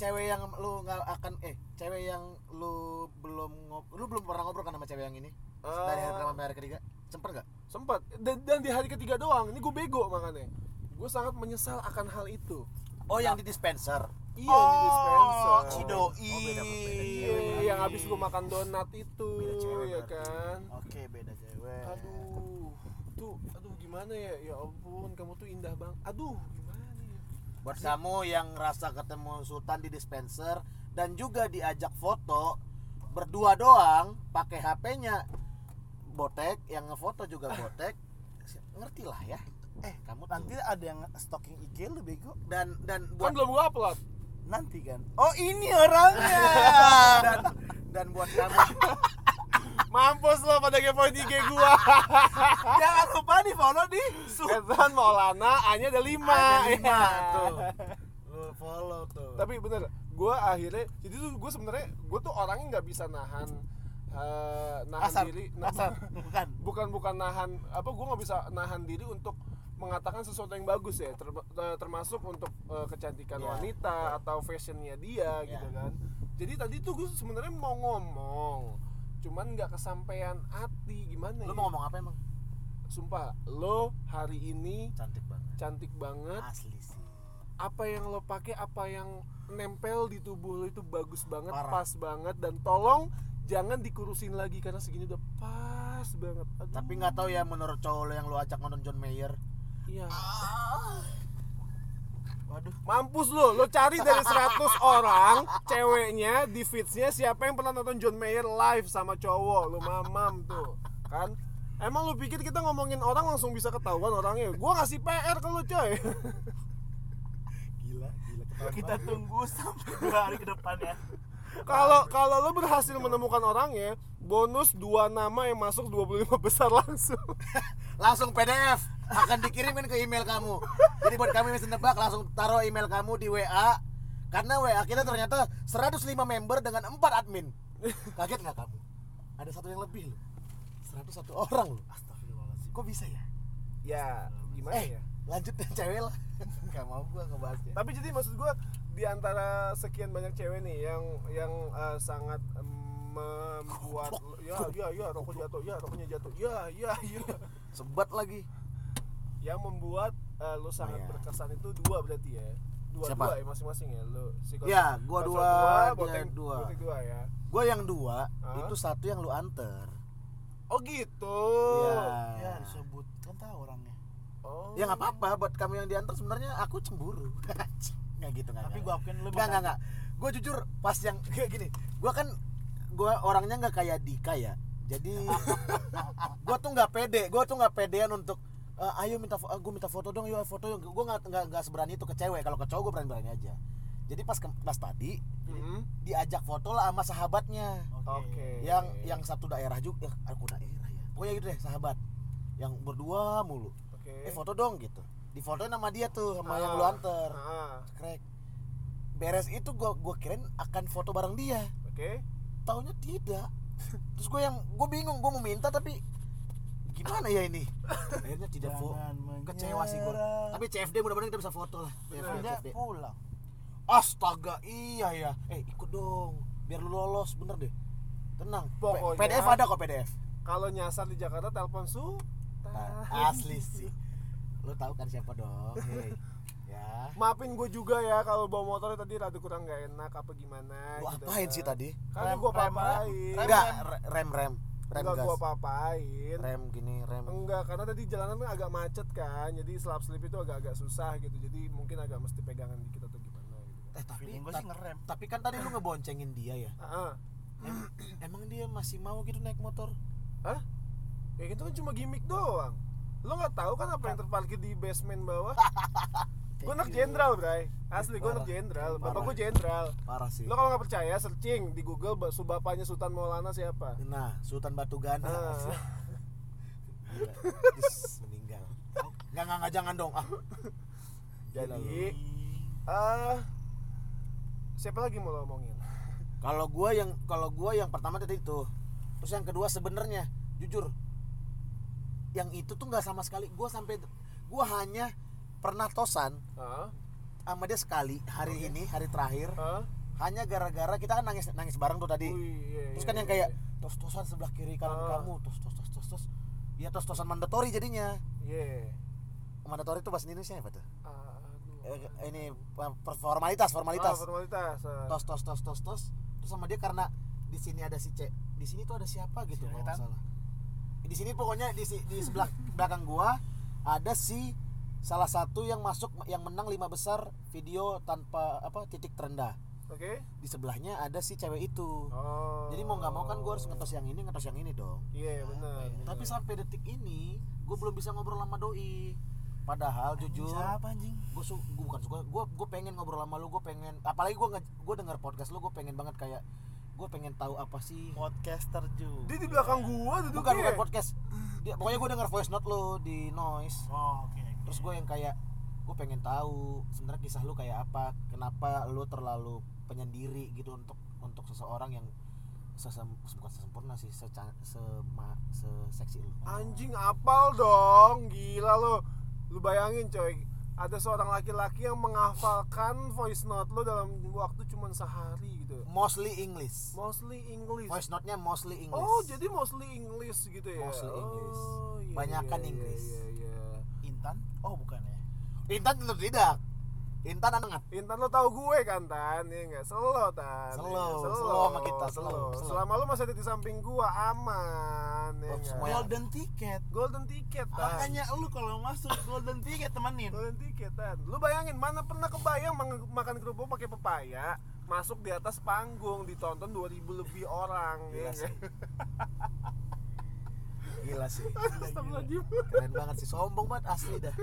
cewek yang lu nggak akan eh cewek yang lu belum ngob lu belum pernah ngobrol kan sama cewek yang ini dari hari Eh. pertama sampai hari ketiga sempet nggak sempat dan, dan di hari ketiga doang ini gue bego makanya gue sangat menyesal akan hal itu oh yang di dispenser iya di dispenser si Cido. doi Oh, beda- beda iya yang habis gue makan donat itu Beda cewek ya berarti. kan oke beda cewek aduh tuh aduh gimana ya ya ampun kamu tuh indah bang aduh gimana ya buat kamu yang rasa ketemu Sultan di dispenser dan juga diajak foto berdua doang pakai HP-nya botek yang ngefoto juga botek ngerti lah ya eh kamu tuh. nanti ada yang stalking IG lu bego dan dan kan buat belum gue upload nanti kan oh ini orangnya dan, dan [laughs] buat kamu [laughs] mampus lo pada kepoin IG gue jangan lupa di follow di su- Ezan Ya kan, Maulana A nya ada lima ada lima Ya. tuh lu follow tuh tapi bener gue akhirnya jadi tuh gue sebenarnya gue tuh orangnya nggak bisa nahan eh, nahan pasar diri nah, pasar bukan bukan bukan nahan apa gue nggak bisa nahan diri untuk mengatakan sesuatu yang bagus ya ter- eh, termasuk untuk eh, kecantikan Iya, wanita atau fashionnya dia Iya. gitu kan jadi tadi tuh gue sebenarnya mau ngomong cuman nggak kesampaian hati gimana lu ya? mau ngomong apa emang sumpah lo hari ini cantik banget cantik banget asli sih apa yang lo pakai apa yang nempel di tubuh lo itu bagus banget Parah. pas banget dan tolong jangan dikurusin lagi karena segini udah pas banget Aduh, tapi nggak tahu ya menurut cowok lu yang lu ajak nonton John Mayer iya waduh mampus lo lo cari dari 100 orang ceweknya di feedsnya siapa yang pernah nonton John Mayer live sama cowok lo mamam tuh kan Emang lu pikir kita ngomongin orang langsung bisa ketahuan orangnya? Gua ngasih PR ke lu, coy. [laughs] gila gila kita tunggu sampai dua hari ke depan ya Kalau kalau lu berhasil menemukan orangnya, bonus dua nama yang masuk 25 besar langsung. langsung PDF akan dikirimin ke email kamu. Jadi buat kami yang nebak langsung taruh email kamu di WA karena WA kita ternyata 105 member dengan 4 admin. Kaget nggak kamu? Ada satu yang lebih loh. 101 orang loh. astagfirullahaladzim Kok bisa ya? ya gimana ya eh, lanjut deh cewek lah. [laughs] Gak mau gua ngebahasnya. tapi jadi maksud gue di antara sekian banyak cewek nih yang yang eh, sangat em, membuat ya ya ya rokok jatuh ya rokoknya jatuh ya ya ya Sebat lagi. yang membuat eh, lo sangat Iya. berkesan itu dua berarti ya dua Siapa? dua ya masing-masing ya lo si Kos- Ya, gua Kosong dua, dia botek dua. botek dua ya Gua yang dua, Hah? itu satu yang lu anter. oh gitu ya Iya. disebut kan tahu orangnya oh Ya nggak apa-apa buat kamu yang diantar sebenarnya aku cemburu. [laughs] Nggak gitu nggak. tapi nggak. gue akuin Enggak, lu bakal- enggak, enggak. Gue jujur pas yang [laughs] kayak gini. Gue kan gue orangnya nggak kayak Dika ya. Jadi [laughs] gue tuh nggak pede. Gue tuh nggak pedean untuk "Eh, ayo minta gue minta foto dong, yuk foto dong. Gue nggak nggak nggak seberani itu ke cewek. Kalau ke cowok gue berani-berani aja. Jadi pas ke- pas tadi Mhm. diajak foto lah sama sahabatnya oke yang yang satu daerah juga. Eh, aku daerah ya. Pokoknya gitu deh sahabat yang berdua mulu. oke Eh foto dong gitu. Di fotoin sama dia tuh sama yang lu Ah, anter ah, crack beres itu gua gua kirain akan foto bareng dia oke taunya tidak terus gue yang gue bingung gue mau minta tapi gimana ya ini akhirnya tidak foto Jangan kecewa sih gue menyerah. tapi CFD mudah-mudahan kita bisa foto lah CFD, Anda CFD. pulang astaga iya ya eh ikut dong biar lu lolos bener deh tenang P- Pokoknya- PDF ada kok PDF kalau nyasar di Jakarta telepon su Nah, asli sih lu tahu kan siapa dong hei. ya maafin gue juga ya kalau bawa motor tadi rada kurang nggak enak apa gimana lu gitu apain kan. sih tadi kan Rem- gue rem- papain rem- enggak re- rem rem rem enggak gue gas papain rem gini rem enggak karena tadi jalanan kan agak macet kan jadi selap slip itu agak-agak susah gitu jadi mungkin agak mesti pegangan dikit atau gimana gitu kan Eh tapi Feeling gua ta- sih ngerem. Tapi kan tadi lu ngeboncengin dia [clears throat] ya. Heeh. Em- emang dia masih mau gitu naik motor? Hah? ya [laughs] itu kan cuma gimmick doang lo nggak tahu kan apa yang terparkir di basement bawah gue anak jenderal bray asli gue anak Parah. jenderal bapak Parah. gue jenderal parah sih lo kalau nggak percaya searching di google ba- su- bapaknya Sultan Maulana siapa nah Sultan Batu Gana Ah. Gila. Is, meninggal nggak nggak nggak, jangan dong ah Gila jadi lu. eh siapa lagi mau lo omongin kalau gua yang kalau gua yang pertama tadi itu terus yang kedua sebenarnya jujur yang itu tuh nggak sama sekali gua sampai gua hanya pernah tosan Hah? sama dia sekali hari ini hari terakhir Hah? hanya gara-gara kita kan nangis nangis bareng tuh tadi Wih, iya, terus iya, kan yang iya, kayak tos-tosan sebelah kiri kanan Ah. kamu tos tos tos tos tos ya tos-tosan mandatori jadinya iya Iya. mandatori itu bahasa Indonesia apa tuh Ah, aduh. Eh, ini eh, formalitas formalitas Ah, formalitas ah. tos tos tos tos tos terus sama dia karena di sini ada si C di sini tuh ada siapa gitu kalau nggak Silakan. salah di sini pokoknya di, si- di [laughs] sebelah belakang gua ada si salah satu yang masuk yang menang lima besar video tanpa apa titik terendah oke di sebelahnya ada si cewek itu oh jadi mau nggak mau kan gua harus ngetos yang ini ngetos yang ini dong ya? iya benar Apa ya? benar. tapi sampai detik ini gue belum bisa ngobrol sama doi padahal jujur Siapa anjing? gue su gue bukan suka gue gue pengen ngobrol sama lu gue pengen apalagi gue gue denger podcast lu gue pengen banget kayak gue pengen tahu apa sih Podcaster juga. dia di belakang gua duduk bukan bukan podcast dia pokoknya gue denger voice note lu di noise Oh, oke. oke. terus gue yang kayak gue pengen tahu sebenarnya kisah lu kayak apa kenapa lu terlalu penyendiri gitu untuk untuk seseorang yang sesem, bukan sesempurna sih seca, sema, seseksi lu anjing apal dong gila lo lu bayangin coy ada seorang laki-laki yang menghafalkan voice note lo dalam waktu cuma sehari gitu mostly English mostly English voice note-nya mostly English oh jadi mostly English gitu ya Mostly English. oh, iya, Banyakan iya, iya, Inggris. iya, iya. Intan? Oh, bukan ya. Intan tentu tidak Intan anak Intan lo tahu gue kan Tan, ya enggak? Selo Tan. Selo, Ya, selo sama kita, selo, selo. Selama lo masih ada di samping gua aman, ya Oh, nggak? semuanya. Golden ticket. Golden ticket Ah. Tan. Makanya lu kalau masuk golden ticket temenin. Golden ticket Tan. Lu bayangin mana pernah kebayang mang- makan kerupuk pakai pepaya, masuk di atas panggung ditonton 2000 lebih orang. Gila ya sih. nggak? Gila [laughs] sih. Astagfirullahaladzim. Keren banget sih. Sombong banget asli dah.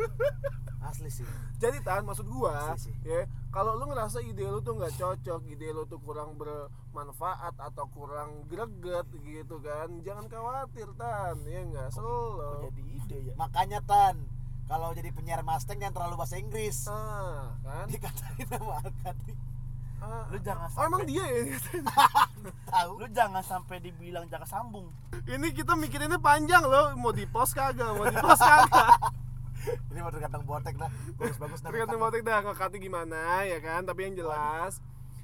Asli sih. Jadi Tan, maksud gua, Asli sih. ya, kalau lu ngerasa ide lu tuh nggak cocok, ide lu tuh kurang bermanfaat atau kurang greget gitu kan, jangan khawatir Tan, ya enggak? Kok Selo. Oh, jadi ide ya? Makanya Tan, kalau jadi penyiar Mustang jangan terlalu bahasa Inggris. Ah, [laughs] kan? Dikatain sama Arkadi. Ah. Lu jangan Oh, emang sampai- dia ya? [laughs] Tahu? Lu jangan sampai dibilang jaka sambung. Ini kita mikirinnya panjang loh, mau di post kagak, mau di post [laughs] kagak. Ini mau tergantung botek dah. Bagus bagus dah. Tergantung mau dah ngekatnya gimana ya kan, tapi yang jelas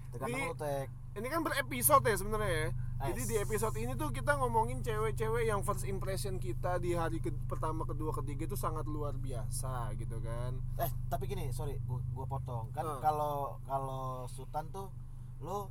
Tergantung Di- botek. ini kan berepisode ya sebenarnya ya. Jadi Yes. di episode ini tuh kita ngomongin cewek-cewek yang first impression kita di hari ke- pertama, kedua, ketiga itu sangat luar biasa gitu kan. Eh, tapi gini, sorry, gua, gua potong. Kan Hmm. kalau kalau Sultan tuh lu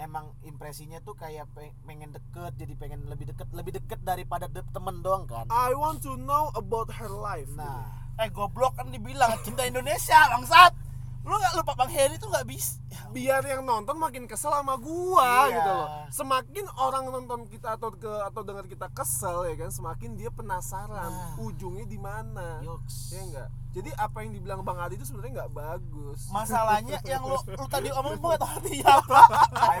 emang impresinya tuh kayak pe- pengen deket jadi pengen lebih deket lebih deket daripada de- temen doang kan I want to know about her life. gitu. nah Eh goblok kan dibilang cinta Indonesia bangsat. Lu nggak lupa Bang Heri tuh nggak bisa. biar yang nonton makin kesel sama gua Iya. gitu loh. Semakin orang nonton kita atau ke atau dengar kita kesel ya kan, semakin dia penasaran Nah. ujungnya di mana. Yoks. Ya enggak? Jadi apa yang dibilang Bang Adi itu sebenarnya nggak bagus. [laughs] Masalahnya yang lu, lu tadi ya, omong [laughs] gua nggak tahu artinya apa.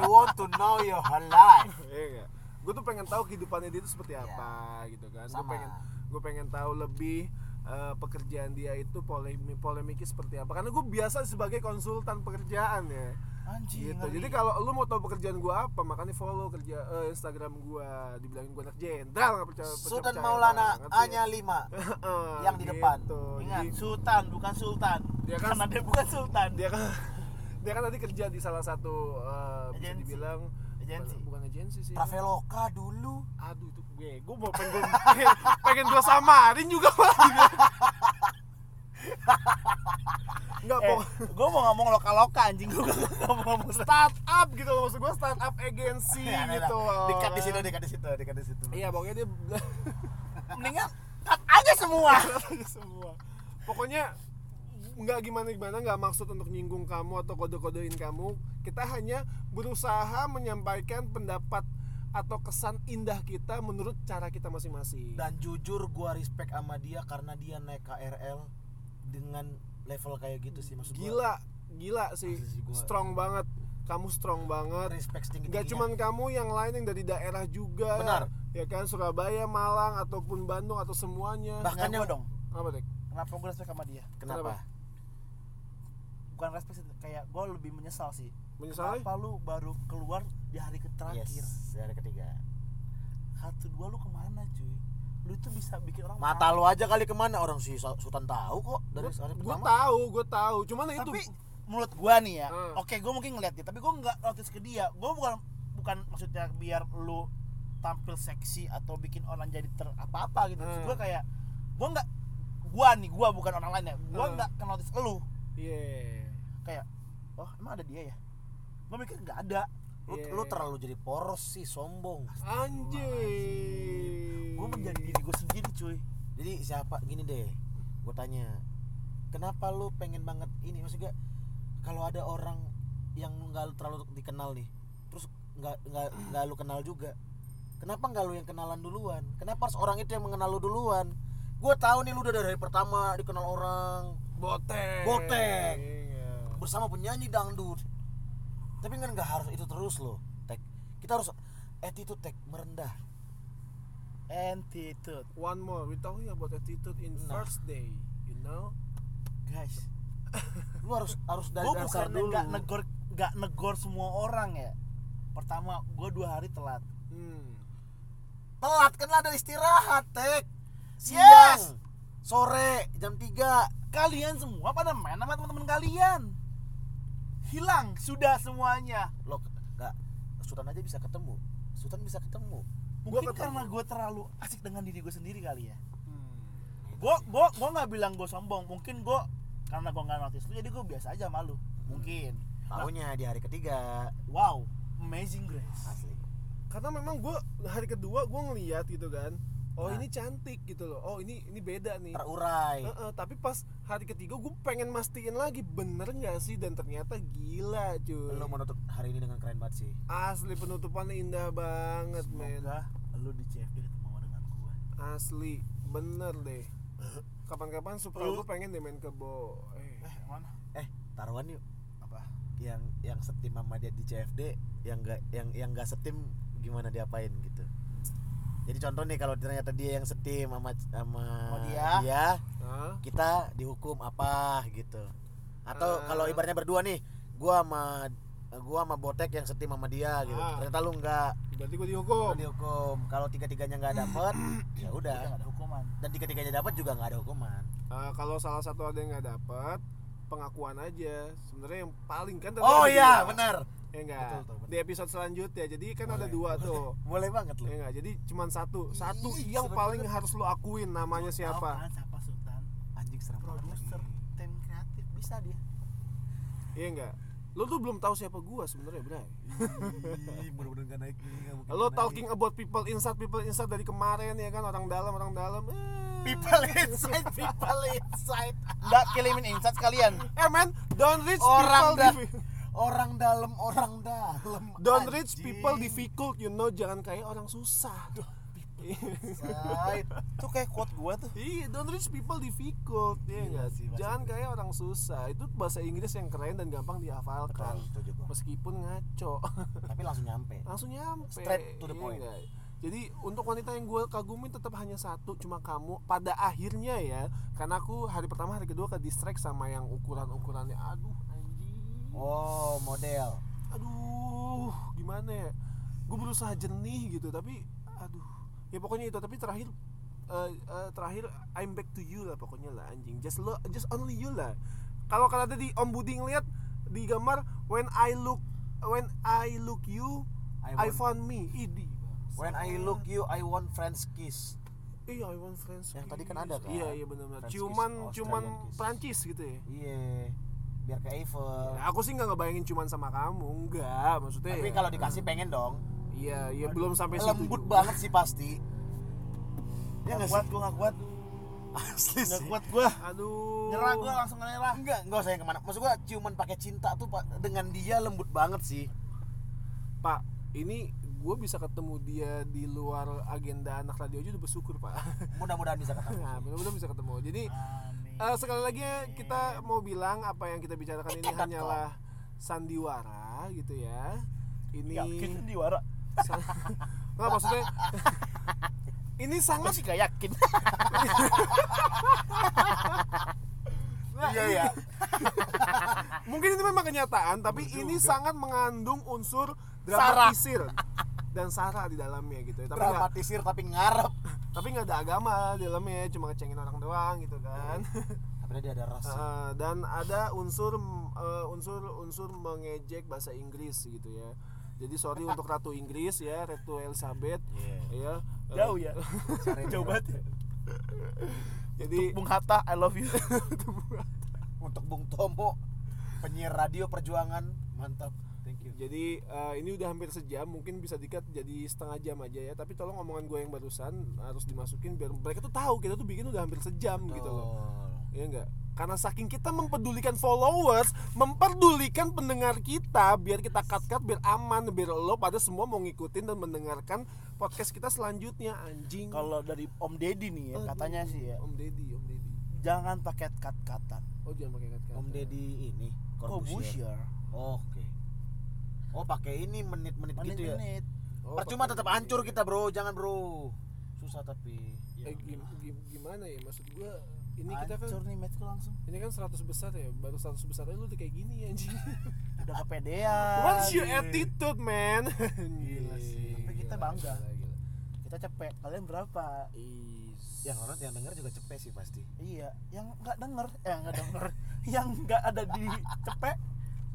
I want to know your whole [laughs] life. Iya enggak? Gue tuh pengen tahu kehidupannya dia itu seperti apa gitu kan. Gue Iya. Sama. pengen gue pengen tahu lebih eh, pekerjaan dia itu polemik polemiknya seperti apa. Karena gue biasa sebagai konsultan pekerjaan ya. gitu. Anjing. ngeri. Jadi kalau lu mau tahu pekerjaan gua apa, makanya follow kerja eh, Instagram gua. Dibilangin gua anak jenderal nggak percaya. percaya- Sultan percaya Maulana banget ya, [laughs] hanya sih. lima. Heeh, yang di depan. gitu. ingat Jadi, sultan bukan sultan. Dia Dia kan- kan Karena dia bukan sultan. dia kan [laughs] dia kan tadi kerja di salah satu eh, bisa Agensi. dibilang Agensi. bukan, bukan agensi sih. Traveloka dulu. Aduh itu gue, gue mau pengen gua, [laughs] pengen, pengen gua samarin juga malah. Enggak, Eh, pokok- gua mau ngomong lokal-lokal anjing gua nggak mau ngomong sultan. startup gitu loh maksud gua startup agensi Ya, [laughs] nah, nah. gitu. loh, Dekat di kan. situ, dekat di situ, dekat di situ. Iya, pokoknya dia Mendingan cut aja semua. Aja [laughs] semua pokoknya nggak gimana gimana nggak maksud untuk nyinggung kamu atau kode kodein kamu kita hanya berusaha menyampaikan pendapat atau kesan indah kita menurut cara kita masing-masing Dan jujur gua respect sama dia karena dia naik KRL dengan level kayak gitu sih maksud gua gila gila sih Asli sih gua. strong banget kamu strong banget respect tinggi Gak cuman kamu yang lain yang dari daerah juga Benar. ya kan Surabaya Malang ataupun Bandung atau semuanya bahkan Nggak yang gua dong. apa dek Kenapa gue respect sama dia? Kenapa? kenapa Bukan respect sih, kayak gue lebih menyesal sih. menyesal Kenapa lu baru keluar di hari terakhir? yes dari ketiga Satu dua lu kemana cuy? Lu itu bisa bikin orang mata lu aja kali kemana orang si Sa- Sultan tahu kok dari hari gue pertama tahu gue tahu cuman itu tapi menurut gua nih ya Hmm. oke gua mungkin ngeliat dia tapi gua nggak notice ke dia gua bukan bukan maksudnya biar lu tampil seksi atau bikin orang jadi ter apa apa gitu Maksud Hmm. gua kayak gua nggak gua nih gua bukan orang lain ya gua Hmm. nggak notice lu Iya. kayak oh emang ada dia ya gua mikir nggak ada lu, Iya. lu terlalu jadi poros sih sombong anjing gua menjadi diri gua sendiri cuy jadi siapa gini deh gue tanya kenapa lu pengen banget ini maksudnya kalau ada orang yang nggak lu terlalu dikenal nih terus nggak nggak nggak lu kenal juga kenapa nggak lu yang kenalan duluan kenapa harus orang itu yang mengenal lu duluan gue tahu nih lu udah dari pertama dikenal orang botek Botek. Iya. bersama penyanyi dangdut tapi kan nggak harus itu terus loh tek kita harus attitude tek merendah attitude one more we talking about attitude in Nah. first day you know guys lu harus harus dari gua dasar bukan dulu nggak negor nggak negor semua orang ya pertama gua dua hari telat hmm. telat kan ada istirahat tek siang Yes. sore jam 3 kalian semua pada main sama teman-teman kalian hilang sudah semuanya lo nggak sultan aja bisa ketemu sultan bisa ketemu mungkin ketemu. karena gue terlalu asik dengan diri gue sendiri kali ya Hmm. gue gue gue nggak bilang gue sombong mungkin gue karena gue nggak notice lu jadi gue biasa aja malu mungkin tahunya di hari ketiga wow amazing grace asli karena memang gue hari kedua gue ngeliat gitu kan oh Nah. ini cantik gitu loh oh ini ini beda nih terurai Heeh, tapi pas hari ketiga gue pengen mastiin lagi bener nggak sih dan ternyata gila cuy lo menutup hari ini dengan keren banget sih asli penutupannya indah banget men semoga lu di CFD ketemu dengan gue asli bener deh kapan-kapan supaya gue pengen deh main kebo eh. eh mana eh taruhan yuk apa yang yang setim sama dia di CFD yang gak yang yang gak setim gimana diapain gitu jadi contoh nih kalau ternyata dia yang setim sama sama Oh, dia? Hah? kita dihukum apa gitu atau Ah. kalau ibaratnya berdua nih gua sama gua sama botek yang setim sama dia gitu Ah. ternyata lu nggak berarti gue lu dihukum dihukum kalau tiga tiganya nggak dapet ya udah nggak udah ada hukuman dan tiga tiganya dapet juga nggak ada hukuman Ah, kalau salah satu ada yang nggak dapet pengakuan aja sebenarnya yang paling kan tadi oh ada iya dua. benar ya enggak Betul, betul, betul. di episode selanjutnya jadi kan ada Boleh, dua boleh. tuh boleh banget lu Ya enggak, jadi cuman satu, satu Ih, yang sebenarnya. paling harus lu akuin namanya Lu tahu siapa. kan siapa Sultan anjing serem banget produser lagi. tim kreatif bisa dia kan? Iya enggak? Lu tuh belum tahu siapa gua sebenarnya, Bray. Ih, bener-bener nggak naik nih, nggak mungkin Lu naik. talking about people inside, people inside dari kemarin ya kan orang dalam, orang dalam. Eh. people inside people inside nggak kirimin insight kalian Eh man, don't reach people Orang dah- divi- orang dalam orang dalam don't reach anjing. people difficult, you know, jangan kayak orang susah. Side. itu kayak quote gue tuh [laughs] Iya, don't reach people difficult, ya Gila enggak? Iya sih bahasa Jangan kayak orang susah. Itu bahasa Inggris yang keren dan gampang Betul, dihafalkan. setuju gua. Meskipun ngaco. [laughs] tapi langsung nyampe langsung nyampe Straight to the Iya point. nggak? jadi untuk wanita yang gue kagumi tetap hanya satu cuma kamu pada akhirnya ya karena aku hari pertama hari kedua ke distract sama yang ukuran ukurannya aduh anjing oh model aduh gimana ya gue berusaha jernih gitu tapi aduh ya pokoknya itu tapi terakhir eh, eh, terakhir I'm back to you lah pokoknya lah anjing just lo just only you lah kalau kata tadi Om Budi ngeliat di gambar when I look when I look you I, E want- found me idi When I look you, I want French kiss. iya I want French Yang kiss. tadi kan ada kan? iya iya benar-benar French kiss, cuman Australian cuman kiss. Prancis gitu ya Iya, biar ke Eiffel. Nah, aku sih nggak ngebayangin cuman sama kamu enggak maksudnya Tapi ya- kalau dikasih pengen dong. iya iya belum sampai situ Lembut juga. banget sih pasti. Ya nggak nggak sih? kuat gue nggak kuat Asli nggak sih. kuat gue aduh nyerah gue langsung nyerah Enggak, enggak usah yang kemana. Maksud gua ciuman pakai cinta tuh Pak, dengan dia lembut banget sih. pak ini gue bisa ketemu dia di luar agenda anak radio aja udah bersyukur pak [laughs] Mudah-mudahan bisa ketemu. nah benar-benar bisa ketemu jadi Amin. Eh, sekali lagi kita mau bilang apa yang kita bicarakan ini hanyalah sandiwara gitu ya. Ini Yakin diwara. san- [laughs] nggak maksudnya ini sangat Masih gak yakin. Iya ya. [laughs] mungkin ini memang kenyataan tapi ini sangat mengandung unsur dramatisir dan sara di dalamnya gitu ya. Tapi nggak- Dramatisir tapi ngarep. tapi nggak ada agama di dalamnya cuma ngecengin orang doang gitu kan. Iya, Tapi dia ada ras. [laughs] Eh, dan ada unsur mm, eh, unsur unsur mengejek bahasa Inggris gitu ya. Jadi [laughs] sorry untuk Ratu Inggris ya, Ratu Elizabeth Iya. ya. Eh, Jauh [laughs] ya. Jauh banget. ya. Jadi Bung Hatta, I love you. [laughs] Untuk Bung Tomo penyiar radio perjuangan mantap. Thank you. jadi eh, ini udah hampir sejam, mungkin bisa dikat jadi setengah jam aja ya. Tapi tolong omongan gue yang barusan harus dimasukin biar mereka tuh tahu kita tuh bikin udah hampir sejam gitu Oh. loh. Iya enggak? Karena saking kita mempedulikan followers, memperdulikan pendengar kita, biar kita cut-cut, biar aman, biar lo pada semua mau ngikutin dan mendengarkan podcast kita selanjutnya, anjing. Kalau dari Om Deddy nih ya, Aduh, katanya sih ya, Oh, Om Deddy, Om Deddy. jangan pakai kat-katan. Oh jangan pakai cut Om Deddy ini ya. Corbusier. Corbusier. Oke. Oh pakai ini menit-menit gitu ya. Menit-menit. Oh, Percuma tetap hancur kita bro, jangan bro. Susah tapi. Ya. Eh, gim- gim- gimana ya maksud gua ini kita kan Hancur nih matchku langsung. ini kan 100 besar ya, baru 100 besar aja lu udah kayak gini anjing. Udah Ah. kepedean. What's your attitude, man? [laughs] Gila sih. Tapi Iya, kita gila, bangga. gila, gila. Kita cepet. Kalian berapa? Is- Yang orang yang denger juga cepet sih pasti. Iya, yang nggak denger, eh nggak denger, [laughs] yang nggak ada di cepet.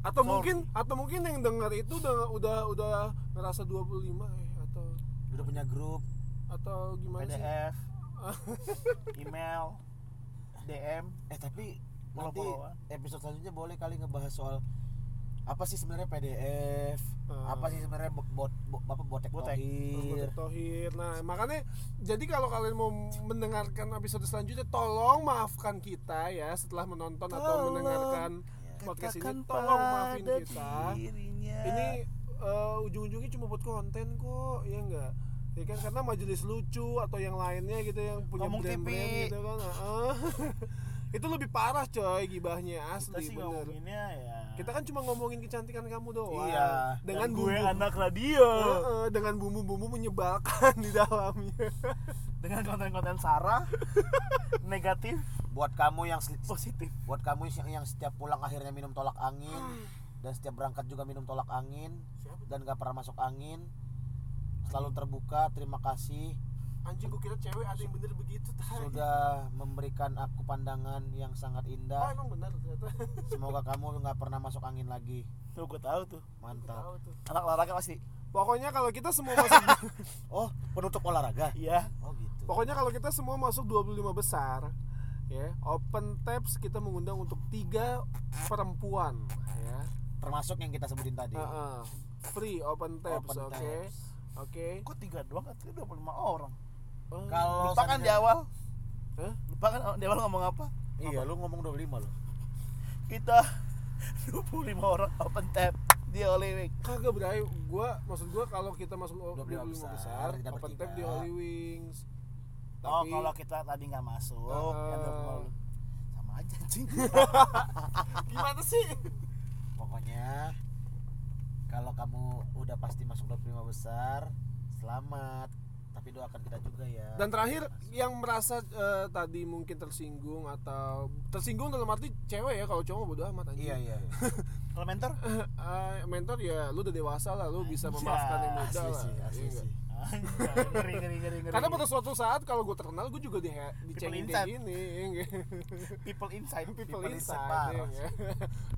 atau Sorry. mungkin atau mungkin yang dengar itu udah udah udah ngerasa 25 eh atau Udah punya grup. atau gimana sih? PDF, [laughs] email, DM, Eh tapi nanti Follow-followan. episode selanjutnya boleh kali ngebahas soal apa sih sebenarnya PDF, Hmm. apa sih sebenarnya bo- bot, bo- apa botek Botek. tohir. Iya. Rahmatul Tohir. Nah, makanya jadi kalau kalian mau mendengarkan episode selanjutnya tolong maafkan kita ya setelah menonton atau Tolong mendengarkan podcast ini tolong maafin pada kita. dirinya. Ini eh, ujung-ujungnya cuma buat konten kok, ya enggak? Ya kan karena majelis lucu atau yang lainnya gitu yang punya Ngomong brand-brand TV. gitu kan. heeh. [laughs] itu lebih parah coy gibahnya kita asli sih bener. ngomonginnya ya. Kita kan cuma ngomongin kecantikan kamu doang. Iya. Dengan dengan gue bumbu. anak radio, Heeh, dengan bumbu-bumbu menyebalkan [laughs] di dalamnya. dengan konten-konten Sarah, [laughs] negatif, Buat kamu yang sel- positif. buat kamu yang, yang setiap pulang akhirnya minum tolak angin dan setiap berangkat juga minum tolak angin dan gak pernah masuk angin selalu terbuka terima kasih Anjing gue kira cewek ada yang bener begitu. Tai. sudah memberikan aku pandangan yang sangat Oh, indah emang bener ternyata. semoga kamu nggak pernah masuk angin lagi Tuh gue tahu tuh, mantap Tahu tuh. anak olahraga pasti. Pokoknya kalau kita semua [laughs] masuk oh penutup olahraga Iya, oh gitu Pokoknya kalau kita semua masuk 25 besar ya, open taps kita mengundang untuk tiga perempuan ya. termasuk yang kita sebutin tadi Heeh. Free open taps, Iya. oke. Open taps. Oke. kok tiga doang atau dua puluh lima orang? Oh, kalau Lupa kan di seandainya- awal, Hah? lupa kan di awal ngomong apa? iya lu ngomong 25 lo kita [laughs] 25 orang open tab di Holy Week. Kagak berani gua maksud gua kalau kita masuk 25 25 besar, besar, kita open bertiga. tap di Holy Wings. eh, Oh, kalau gitu, kita tadi nggak masuk, ya Heeh. yang 20. sama aja cing. gimana sih? pokoknya kalau kamu udah pasti masuk 25 besar selamat tapi doakan kita juga ya Dan terakhir yang merasa eh, tadi mungkin tersinggung atau tersinggung dalam arti cewek ya kalau cowok bodo amat anjing. iya iya, iya. Elementer? Eh, mentor ya lu udah dewasa lah lu bisa Anjay. memaafkan yang muda Iya, lah asli sih Iya asli nggak? sih ngeri ngeri ngeri ngeri. karena pada suatu saat kalau gue terkenal gue juga di dicengin inside. kayak gini iya [laughs] nggak? people inside, people, People inside inside iya parah nggak?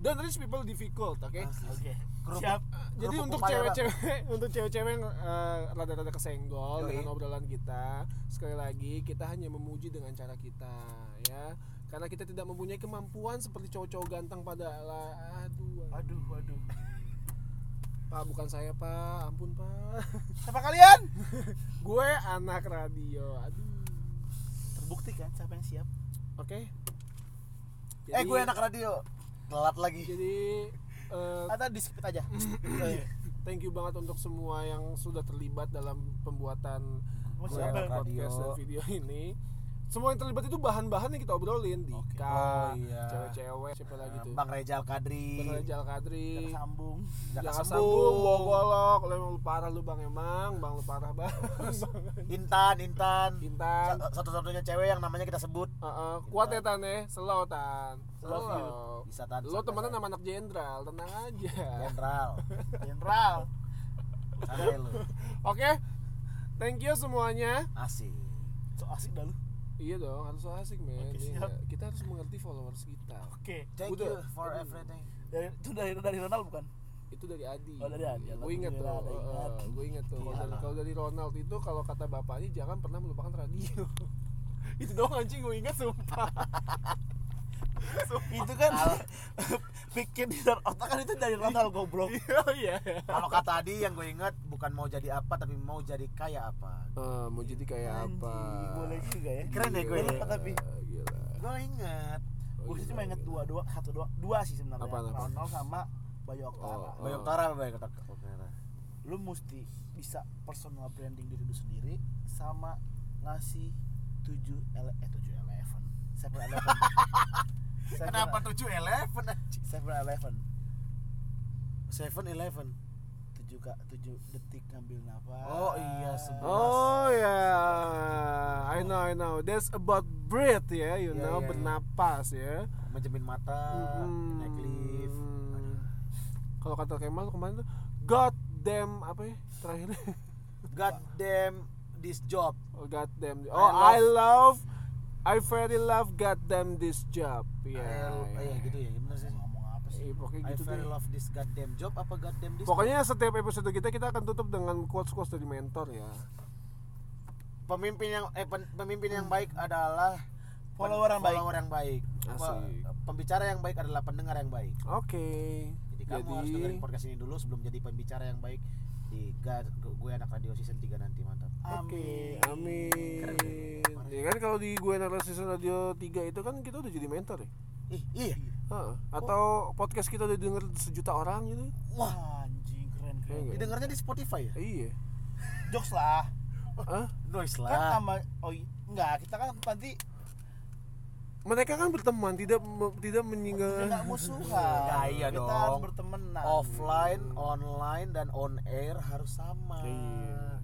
don't reach people difficult oke Asli. Oke. Kerupuk. Siap. jadi Kerupuk untuk upaya, Bang. cewek-cewek [laughs] untuk cewek-cewek yang eh, rada-rada kesenggol Yoi. dengan obrolan kita sekali lagi kita hanya memuji dengan cara kita ya karena kita tidak mempunyai kemampuan seperti cowok-cowok ganteng pada lah aduh Waduh, waduh. pak bukan saya pak ampun pak [laughs] Siapa kalian? gue anak radio aduh Terbukti kan siapa yang siap? oke eh gue anak radio telat lagi jadi eh, Atau di skip aja. Oh, iya. thank you banget untuk semua yang ya, sudah terlibat dalam pembuatan Mau gue siapa? anak Radio. podcast dan video ini semua yang terlibat itu bahan-bahan yang kita obrolin Dika, Oke. Oh, iya. cewek-cewek, siapa lagi tuh? Eh, Bang Rejal Kadri, Bang Jal Kadri, Jangan sambung. Jaka Jaka Sambung, Sembung, Bang Golok, lu emang lu parah lu Bang emang, Bang lu parah [laughs] Bang. Bang Intan, Intan. Intan, Sa- Satu-satunya cewek yang namanya kita sebut Heeh, kuat ya Tan ya, slow Tan. Slow. Slow. bisa tahan Lo sampai temenan saya. sama anak jenderal, tenang aja. [laughs] Jenderal. General. Santai lu. Oke. Thank you semuanya. Asik. So asik dah lu. Iya dong, harus so asik men. Oke, Iya, siap. kita harus mengerti followers kita. Oke. Thank Udah. you for Aduh. everything. Dari itu dari dari Ronald bukan? Itu dari Adi. Oh, dari Adi. Gue inget tuh. Alhamdulillah, ada ingat. eh, Gue inget tuh. Kalau Iya. dari, kalau dari Ronald itu kalau kata bapaknya jangan pernah melupakan radio. [laughs] itu doang anjing gue inget [laughs] sumpah. itu kan [laughs] pikir di dalam otak kan itu dari Ronald goblok. Iya iya. Kalau kata tadi yang gue inget bukan mau jadi apa tapi mau jadi kaya apa. Eh, mau jadi kayak apa? Anjing, Boleh juga ya. Ya Keren ya gue Boleh ini. Gila, apa tapi Gila. Gue inget. Oh, gue gila, cuma inget gila. dua dua satu dua dua sih sebenarnya. Apaan, apaan? Ronald sama Bayu Oktara. Oh. Bayang Tara, Bayang Tara. Oke, Tara. Lu mesti bisa personal branding diri lu sendiri sama ngasih tujuh ele eh tujuh eleven seven eleven. [laughs] Seven- e, Kenapa tujuh eleven? Seven eleven Seven eleven. tujuh kak tujuh detik ngambil nafas. Oh, iya, sebelas. Oh ya, I know I know. That's about breath ya, you Iya, know, iya, iya. bernapas ya. Menjamin mata, Mm-mm. Ah, naik lift. Hmm. Kalau kata Kemal kemarin tuh, God damn apa ya terakhirnya? [laughs] God damn this job. Oh, God damn. I Oh, I love, I love- very love God damn this job. Ya. I- oh, ya. iya gitu ya, bener sih. Mau ngomong apa sih? Iya, pokoknya I gitu very deh. love this goddamn job apa goddamn this Pokoknya setiap episode kita kita akan tutup dengan quotes quotes dari mentor ya. pemimpin yang eh pen- pemimpin yang baik adalah pen- Follower yang baik. follower yang baik. Pe- Asik. Pembicara yang baik adalah pendengar yang baik. Oke. Jadi, kamu harus dengerin podcast ini dulu sebelum jadi pembicara yang baik di Ga- gue anak radio season 3 nanti mantap. Oke, Amin. amin. Ya kan kalau di gue Nara Season Radio 3 itu kan kita udah jadi mentor ya. Ih, iya. Heeh. Atau podcast kita udah denger sejuta orang gitu. Wah anjing keren keren. Iya. Didengarnya di Spotify ya? Iya. Jokes lah. Hah? Noise Kan sama oh i- enggak kita kan nanti Mereka kan berteman, tidak me- tidak menyinggung. enggak musuhan. Nah, iya kita dong. harus berteman. Offline, online dan on air harus sama. Iya.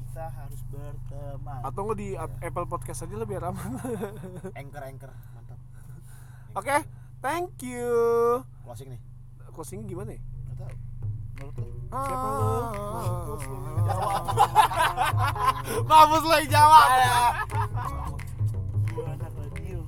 Kita harus berteman. Atau nggak di Ap- Apple Podcast aja lebih ramah. [laughs] Anchor anchor mantap. Oke, thank you. Closing nih. Closing gimana ya? Enggak tahu. Menurut lu? Siapa lu? Mampus lo jawab. Gua anak radio.